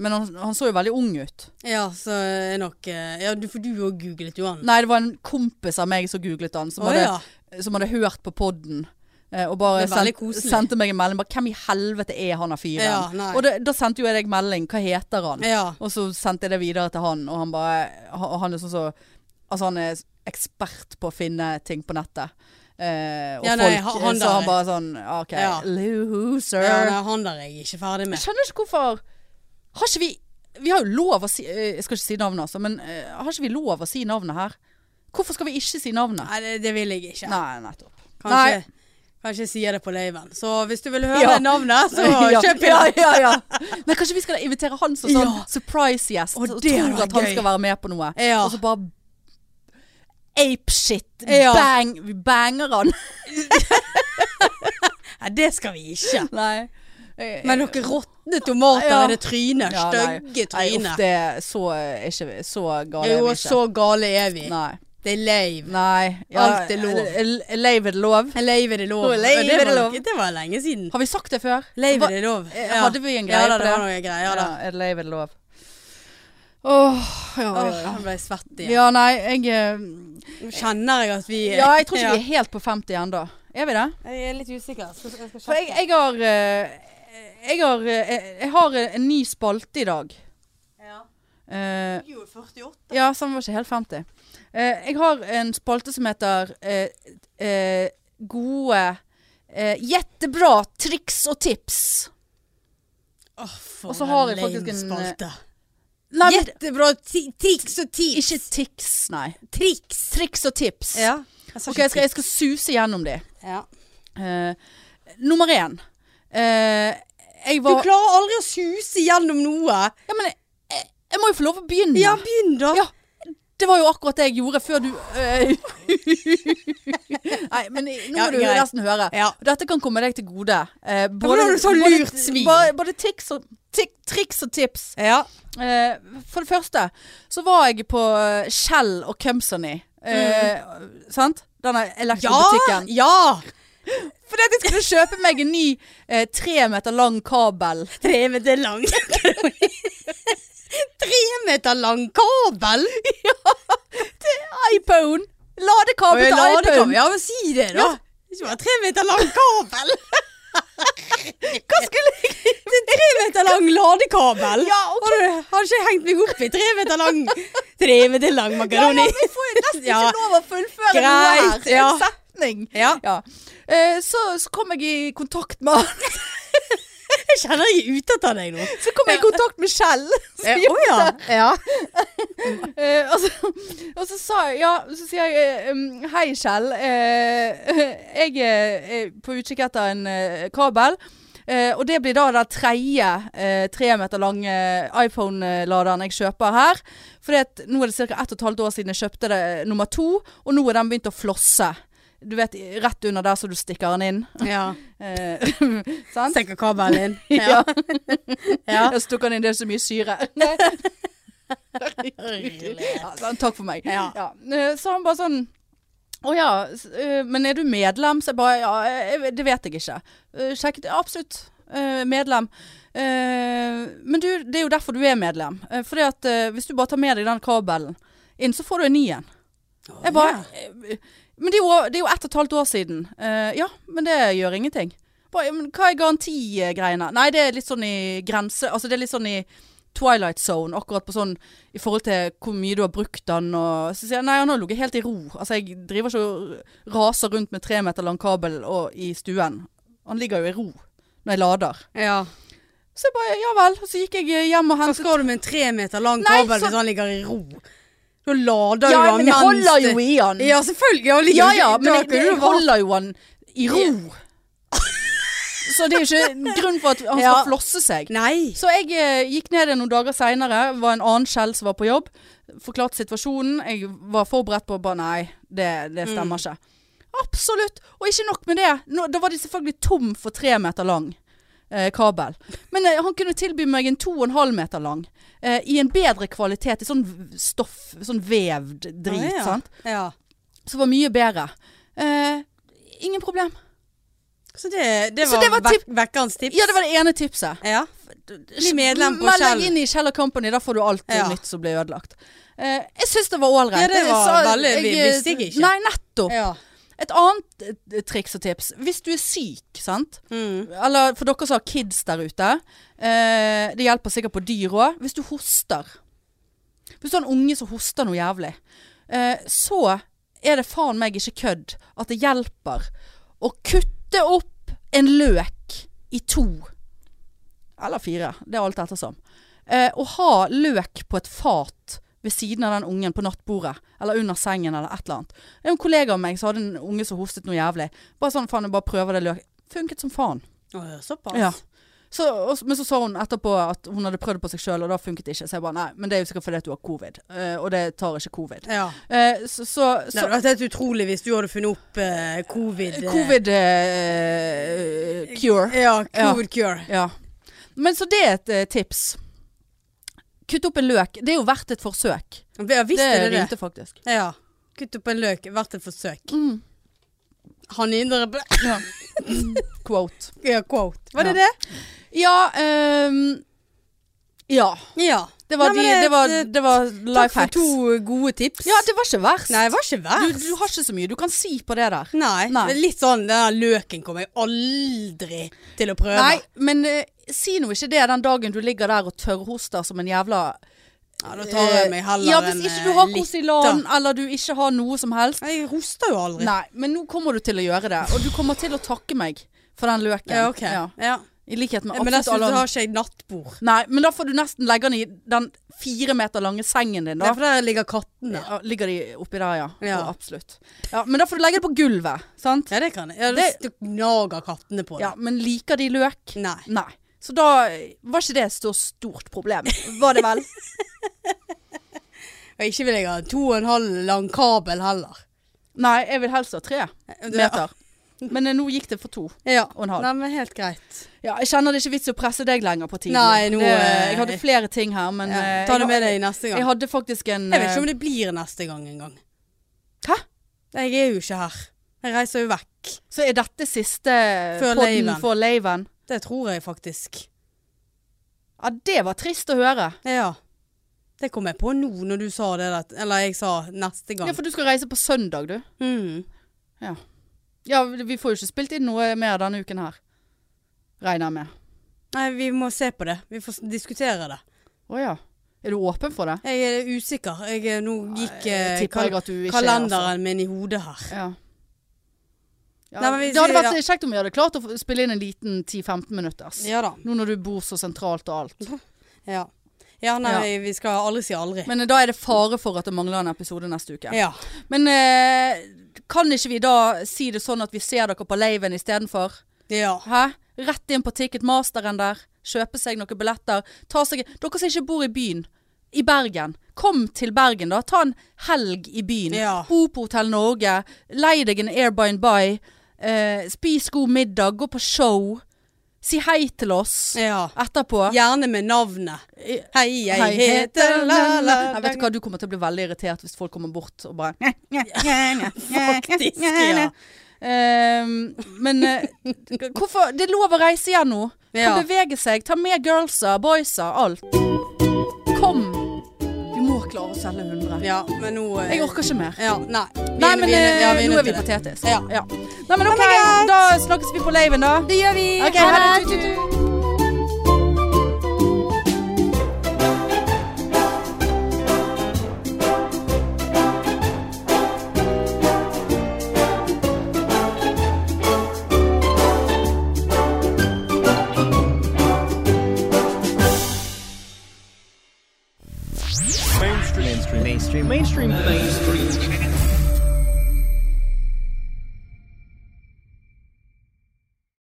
Speaker 2: men han, han så jo veldig ung ut.
Speaker 1: Ja, så er nok eh, Ja, du, for du òg googlet jo han.
Speaker 2: Nei, det var en kompis av meg som googlet han, som,
Speaker 1: Å,
Speaker 2: hadde,
Speaker 1: ja.
Speaker 2: som hadde hørt på podden. eh, Og bare
Speaker 1: Det er veldig
Speaker 2: sendt-
Speaker 1: koselig.
Speaker 2: sendte meg en melding. Bare, 'Hvem i helvete er han av fyren?'
Speaker 1: Ja, nei.
Speaker 2: og det, da sendte jo jeg deg melding. 'Hva heter han?'
Speaker 1: Ja.
Speaker 2: Og så sendte jeg det videre til han, og han bare ha- Han er sånn så Altså, han er ekspert på å finne ting på nettet. Eh, og
Speaker 1: Ja, nei,
Speaker 2: folk,
Speaker 1: han- han
Speaker 2: så
Speaker 1: der
Speaker 2: han
Speaker 1: er-
Speaker 2: bare sånn ja, OK,
Speaker 1: Ja.
Speaker 2: loser.
Speaker 1: Ja, nei, han der er jeg ikke ferdig
Speaker 2: jeg
Speaker 1: med.
Speaker 2: skjønner ikke hvorfor Har ikke vi Vi har jo lov å si eh, Jeg skal ikke si navnet, altså, men eh, har ikke vi lov å si navnet her? Hvorfor skal vi ikke si navnet?
Speaker 1: Nei, det, det vil jeg ikke.
Speaker 2: Nei, nettopp.
Speaker 1: Kanskje,
Speaker 2: Nei.
Speaker 1: kanskje jeg sier det på laven. Så hvis du vil høre
Speaker 2: Ja.
Speaker 1: navnet, så
Speaker 2: ja,
Speaker 1: kjøp
Speaker 2: ja,
Speaker 1: inn.
Speaker 2: ja, ja. Nei, kanskje vi skal invitere han som sånn
Speaker 1: Ja.
Speaker 2: surprise gjest.
Speaker 1: Å,
Speaker 2: Og,
Speaker 1: det
Speaker 2: tror
Speaker 1: hadde vært
Speaker 2: at han
Speaker 1: gøy.
Speaker 2: skal være med på noe.
Speaker 1: Ja.
Speaker 2: Og så bare apeshit.
Speaker 1: Ja.
Speaker 2: Bang. Vi banger han.
Speaker 1: Nei, det skal vi ikke.
Speaker 2: Nei. Eh,
Speaker 1: Men noen råtne tomater
Speaker 2: Ja.
Speaker 1: er det trynet.
Speaker 2: ja, nei.
Speaker 1: Stygge
Speaker 2: Nei, uff,
Speaker 1: trynet.
Speaker 2: det er så, er ikke, vi- så gale er
Speaker 1: Jo,
Speaker 2: vi ikke.
Speaker 1: så gale er vi.
Speaker 2: Nei.
Speaker 1: Det er lave.
Speaker 2: nei.
Speaker 1: Alt er lov.
Speaker 2: Leiv er det lov.
Speaker 1: Lave er det lov.
Speaker 2: Nå er lave
Speaker 1: Ja, det,
Speaker 2: er det
Speaker 1: var,
Speaker 2: lov.
Speaker 1: nok- det var lenge siden.
Speaker 2: Har vi sagt det før?
Speaker 1: Lave
Speaker 2: Hva-
Speaker 1: er det lov.
Speaker 2: Eh, Hadde vi en greie
Speaker 1: ja, da,
Speaker 2: på
Speaker 1: det
Speaker 2: det?
Speaker 1: var noen greier da.
Speaker 2: Ja, er det leiv er det lov? Åh, ja,
Speaker 1: Åh,
Speaker 2: ja,
Speaker 1: jeg ble svett
Speaker 2: ja.
Speaker 1: igjen.
Speaker 2: ja, nei, jeg eh,
Speaker 1: Nå kjenner jeg at vi
Speaker 2: Ja, jeg tror ikke vi er helt på 50 ennå. Er vi det?
Speaker 1: Jeg er litt usikker. Skal, jeg skal
Speaker 2: For jeg, jeg har eh, jeg har, eh, jeg har en ny spalte i dag.
Speaker 1: Ja.
Speaker 2: Eh,
Speaker 1: Jeg gjorde 48.
Speaker 2: ja, så den var ikke helt 50. Eh, jeg har en spalte som heter eh, eh, Gode eh, Jettebra triks og tips.
Speaker 1: Åh, for
Speaker 2: Og så har
Speaker 1: en
Speaker 2: jeg faktisk
Speaker 1: lame
Speaker 2: en, eh,
Speaker 1: spalte.
Speaker 2: Nei, men-
Speaker 1: Jettebra ti- triks og tips.
Speaker 2: ikke tics, nei.
Speaker 1: triks.
Speaker 2: Triks og tips.
Speaker 1: Ja. Jeg sa
Speaker 2: Ok,
Speaker 1: ikke
Speaker 2: jeg skal, jeg
Speaker 1: tips.
Speaker 2: skal suse gjennom de.
Speaker 1: ja.
Speaker 2: Eh, nummer én. Eh, jeg
Speaker 1: Du
Speaker 2: var
Speaker 1: klarer aldri å suse gjennom noe.
Speaker 2: Ja, men jeg, jeg må jo få lov å begynne.
Speaker 1: Ja, begynn da.
Speaker 2: Ja. Det var jo akkurat det jeg gjorde før du eh, Nei, men i- nå
Speaker 1: Ja,
Speaker 2: må du
Speaker 1: greit.
Speaker 2: nesten høre.
Speaker 1: Ja.
Speaker 2: Dette kan komme deg til gode. Eh,
Speaker 1: da har du så lurt svin.
Speaker 2: Både, både tics og, tik, triks og tips.
Speaker 1: Ja.
Speaker 2: Eh, for det første så var jeg på eh, Shell og Company. Eh, Sant? Denne
Speaker 1: Ja!
Speaker 2: elektrobutikken.
Speaker 1: ja.
Speaker 2: Fordi at jeg skulle kjøpe meg en ny eh, tre meter lang kabel.
Speaker 1: Tre meter lang Tre meter lang kabel!
Speaker 2: iPhone! Ladekabel til iPhone.
Speaker 1: Ja, men si det, da!
Speaker 2: Ja.
Speaker 1: Ikke bare tre meter lang kabel!
Speaker 2: Hva skulle jeg
Speaker 1: Tre meter lang ladekabel!
Speaker 2: Ja, ok.
Speaker 1: Har du har ikke hengt meg opp i tre meter lang Tre meter lang makaroni.
Speaker 2: Ja, ja, vi får jo nesten
Speaker 1: Ja.
Speaker 2: ikke lov å fullføre noe
Speaker 1: Greit,
Speaker 2: her. En
Speaker 1: ja.
Speaker 2: setning.
Speaker 1: Ja.
Speaker 2: Ja. Eh, så, så kom jeg i kontakt med han.
Speaker 1: Jeg kjenner jeg er ute etter deg nå.
Speaker 2: Så kom jeg i kontakt med Kjell. Så
Speaker 1: Eh,
Speaker 2: gjorde
Speaker 1: Å ja. ja.
Speaker 2: Eh, og, så, og så sa jeg Ja, så sier jeg eh, um, Hei, Kjell. Eh, jeg er eh, på utkikk etter en eh, kabel. Eh, og det blir da den tredje eh, tre meter lange iPhone-laderen jeg kjøper her. For nå er det ca. ett og et halvt år siden jeg kjøpte det eh, nummer to, og nå er den begynt å flosse. Du vet, rett under der så du stikker den inn.
Speaker 1: ja.
Speaker 2: Eh, sant?
Speaker 1: Senker kabelen inn.
Speaker 2: Ja.
Speaker 1: Ja.
Speaker 2: Jeg stukker den inn, det er så mye syre. ja, sånn, takk for meg.
Speaker 1: Ja.
Speaker 2: Eh, Så han bare sånn å ja, s- eh, men er du medlem? Så jeg bare ja, jeg, det vet jeg ikke. Eh, Sjekket absolutt. eh, medlem. Eh, men du, det er jo derfor du er medlem. Uh, fordi at eh, hvis du bare tar med deg den kabelen inn, så får du en ny en. Jeg bare eh, Men det er, jo, det er jo ett og et halvt år siden. Eh, ja, men det gjør ingenting. Bare, ja, men hva er garantigreiene? Nei, det er litt sånn i grense Altså det er litt sånn i Twilight Zone, akkurat på sånn i forhold til hvor mye du har brukt den og Så sier jeg nei, han har ligget helt i ro. Altså jeg driver ikke og raser rundt med tre meter lang kabel og, i stuen. Han ligger jo i ro når jeg lader.
Speaker 1: ja.
Speaker 2: Så jeg bare ja vel. Og så gikk jeg hjem og
Speaker 1: Hva
Speaker 2: hentet
Speaker 1: skal du med en tre meter lang
Speaker 2: Nei,
Speaker 1: kabel
Speaker 2: så-
Speaker 1: hvis han ligger i ro? Da lader
Speaker 2: Ja,
Speaker 1: du han
Speaker 2: men jeg holder jo
Speaker 1: det-
Speaker 2: i han.
Speaker 1: Ja, selvfølgelig. Han ligger
Speaker 2: Ja
Speaker 1: jo
Speaker 2: ja,
Speaker 1: ikke-
Speaker 2: men
Speaker 1: da
Speaker 2: jeg, jeg
Speaker 1: kunne du valgt-
Speaker 2: holder jo han i ro. Så det er jo ikke grunn for at han skal
Speaker 1: Ja.
Speaker 2: flosse seg.
Speaker 1: Nei.
Speaker 2: Så jeg eh, gikk ned igjen noen dager seinere. Var en annen Kjell som var på jobb. Forklarte situasjonen. Jeg var forberedt på bare nei, det, det stemmer ikke. Absolutt! Og ikke nok med det. Nå, da var de selvfølgelig tom for tre meter lang eh, kabel. Men eh, han kunne tilby meg en to og en halv meter lang. Eh, I en bedre kvalitet. I sånn v- stoff, sånn vevd drit.
Speaker 1: ja.
Speaker 2: sant?
Speaker 1: Ja.
Speaker 2: Som var mye bedre. Eh, ingen problem.
Speaker 1: Så det, det
Speaker 2: Så
Speaker 1: var,
Speaker 2: det var
Speaker 1: vek- vekkerens tips?
Speaker 2: Ja, det var det ene tipset.
Speaker 1: Ja. Bli medlem på
Speaker 2: Meld
Speaker 1: Shell.
Speaker 2: deg inn i Kjell Company, da får du alt
Speaker 1: Ja.
Speaker 2: nytt som blir ødelagt. Eh, jeg syns det var ålreit.
Speaker 1: Ja, det
Speaker 2: Jeg
Speaker 1: var
Speaker 2: sa-
Speaker 1: veldig- vi visste jeg ikke.
Speaker 2: Nei, nettopp.
Speaker 1: Ja.
Speaker 2: Et annet eh, triks og tips. Hvis du er syk, sant.
Speaker 1: Mm.
Speaker 2: Eller for dere som har kids der ute. Eh, det hjelper sikkert på dyr òg. Hvis du hoster. Hvis du har en unge som hoster noe jævlig, eh, så er det faen meg ikke kødd at det hjelper å kutte opp en løk i to. Eller fire. Det er alt ettersom. Eh, å ha løk på et fat ved siden av den ungen på nattbordet, eller under sengen, eller et eller annet. Det er En kollega av meg som hadde en unge som hostet noe jævlig. Bare sånn, faen, jeg bare prøver det løk. Funket som faen.
Speaker 1: Å, Såpass?
Speaker 2: Ja. Så, og, men så sa hun etterpå at hun hadde prøvd det på seg sjøl, og da funket det ikke. Så jeg bare nei, men det er jo sikkert fordi at du har covid, eh, og det tar ikke covid.
Speaker 1: Ja.
Speaker 2: Eh, så så,
Speaker 1: Det
Speaker 2: så
Speaker 1: hadde vært helt utrolig hvis du hadde funnet opp eh, covid... eh,
Speaker 2: covid eh, cure.
Speaker 1: Ja, covid cure.
Speaker 2: Ja. Men så det er et eh, tips. Kutt opp en løk. Det er jo verdt et forsøk.
Speaker 1: Ja, visst
Speaker 2: det
Speaker 1: er det det.
Speaker 2: rimte faktisk.
Speaker 1: Ja. Kutt opp en løk. Verdt et forsøk.
Speaker 2: Mm.
Speaker 1: Han indre ble-
Speaker 2: Ja. Quote.
Speaker 1: ja, Quote. Var det
Speaker 2: Ja. Ja ehm, Ja.
Speaker 1: det? Ja.
Speaker 2: Det var,
Speaker 1: Nei, men
Speaker 2: de, det var,
Speaker 1: eh,
Speaker 2: det var
Speaker 1: Takk
Speaker 2: life
Speaker 1: for
Speaker 2: hacks.
Speaker 1: to gode tips.
Speaker 2: Ja, det var ikke verst.
Speaker 1: Nei, det var ikke
Speaker 2: Du,
Speaker 1: verst.
Speaker 2: du har ikke så mye. Du kan si på det der.
Speaker 1: Nei.
Speaker 2: Nei.
Speaker 1: men Litt sånn, denne løken kommer jeg aldri til å prøve.
Speaker 2: Nei, men eh, si nå ikke det den dagen du ligger der og tørrhoster som en jævla
Speaker 1: Ja, da tar jeg meg heller
Speaker 2: Ja, hvis
Speaker 1: en,
Speaker 2: ikke
Speaker 1: eh,
Speaker 2: du har
Speaker 1: litt,
Speaker 2: Kosilan, eller du ikke har noe som helst.
Speaker 1: Jeg hoster jo aldri.
Speaker 2: Nei, men nå kommer du til å gjøre det. Og du kommer til å takke meg for den løken.
Speaker 1: Ja, ok.
Speaker 2: Ja,
Speaker 1: Ja.
Speaker 2: I likhet med
Speaker 1: Ja, Men
Speaker 2: absolutt
Speaker 1: dessuten
Speaker 2: alle
Speaker 1: har
Speaker 2: andre.
Speaker 1: ikke jeg nattbord.
Speaker 2: Nei, men da får du nesten legge den i den fire meter lange sengen din,
Speaker 1: Det
Speaker 2: da.
Speaker 1: er for der ligger kattene.
Speaker 2: Ja, ligger de oppi der, ja.
Speaker 1: Ja.
Speaker 2: Å, absolutt. Ja, men da får du legge det på gulvet, sant?
Speaker 1: Ja, det kan jeg. Ja,
Speaker 2: Det-
Speaker 1: Hvis du gnager kattene på det.
Speaker 2: Ja, men liker de løk?
Speaker 1: Nei.
Speaker 2: Nei. Så da eh, var ikke det så stort problem, var det vel?
Speaker 1: Og ikke vil jeg ha to og en halv lang kabel heller.
Speaker 2: Nei, jeg vil helst ha tre meter. Men eh, nå gikk det for to.
Speaker 1: Ja.
Speaker 2: Og en halv.
Speaker 1: Nei, men helt greit.
Speaker 2: Ja, jeg kjenner det er ikke vits å presse deg lenger på tiden.
Speaker 1: Nei, nå,
Speaker 2: det,
Speaker 1: eh,
Speaker 2: jeg hadde flere ting her, men
Speaker 1: Ja.
Speaker 2: eh,
Speaker 1: Ta
Speaker 2: jeg
Speaker 1: det med
Speaker 2: har-
Speaker 1: deg neste gang.
Speaker 2: Jeg hadde faktisk en
Speaker 1: Jeg vet ikke
Speaker 2: eh,
Speaker 1: om det blir neste gang engang.
Speaker 2: Hæ?
Speaker 1: Jeg er jo ikke her. Jeg reiser jo vekk.
Speaker 2: Så er dette siste eh,
Speaker 1: Før
Speaker 2: podden
Speaker 1: laven.
Speaker 2: for laven?
Speaker 1: Det tror jeg faktisk.
Speaker 2: Ja, det var trist å høre.
Speaker 1: Ja. Det kom jeg på nå når du sa det der. Eller jeg sa neste gang.
Speaker 2: Ja, for du skal reise på søndag, du.
Speaker 1: Mhm.
Speaker 2: Ja, vi får jo ikke spilt inn noe mer denne uken her. Regner jeg med.
Speaker 1: Nei, vi må se på det. Vi får s- diskutere det.
Speaker 2: Å ja. Er du åpen for det?
Speaker 1: Jeg er usikker. Jeg, er- nå gikk eh,
Speaker 2: Jeg tipper
Speaker 1: kal
Speaker 2: jeg at du ikke er, altså.
Speaker 1: kalenderen min i hodet her.
Speaker 2: Ja. Ja,
Speaker 1: Nei, men vi
Speaker 2: det hadde
Speaker 1: sier-
Speaker 2: vært kjekt om vi hadde klart å få- spille inn en liten 10-15 minutters.
Speaker 1: Ja da.
Speaker 2: Nå når du bor så sentralt og alt.
Speaker 1: Ja, ja nei,
Speaker 2: Ja.
Speaker 1: vi- vi skal aldri si aldri.
Speaker 2: Men eh, da er det fare for at det mangler en episode neste uke.
Speaker 1: ja.
Speaker 2: Men eh, kan ikke vi da si det sånn at vi ser dere på laven istedenfor?
Speaker 1: ja.
Speaker 2: Hæ? Rett inn på Ticketmasteren der. Kjøpe seg noen billetter. Ta seg Dere som ikke bor i byen. I Bergen. Kom til Bergen, da. Ta en helg i byen.
Speaker 1: Ja.
Speaker 2: Bo på Hotell Norge. Lei deg en Airbind by. Eh, spis god middag. Gå på show. Si hei til oss
Speaker 1: ja.
Speaker 2: etterpå.
Speaker 1: Gjerne med navnet. Hei, jeg
Speaker 2: Hei,
Speaker 1: heter la-la.
Speaker 2: Nei, Vet du hva, du kommer til å bli veldig irritert hvis folk kommer bort og bare
Speaker 1: Faktisk, ja.
Speaker 2: Ehm, men eh, hvorfor Det er lov å reise igjen nå. Kan
Speaker 1: Ja.
Speaker 2: bevege seg. Ta med girlsa, boysa, alt. Kom. Vi må klare å selge 100.
Speaker 1: Ja, men nå eh,
Speaker 2: Jeg orker ikke mer.
Speaker 1: Ja, nei. Vi
Speaker 2: Nei, men
Speaker 1: nødt- ja,
Speaker 2: eh, nå
Speaker 1: nødt
Speaker 2: er vi
Speaker 1: til det.
Speaker 2: patetiske.
Speaker 1: Ja.
Speaker 2: Nei, men OK.
Speaker 1: greit.
Speaker 2: Da snakkes vi på laven, da.
Speaker 1: Det gjør vi.
Speaker 2: Ok, ha det.
Speaker 1: Tut, tut.
Speaker 3: mainstream mainstream mainstream mainstream mainstream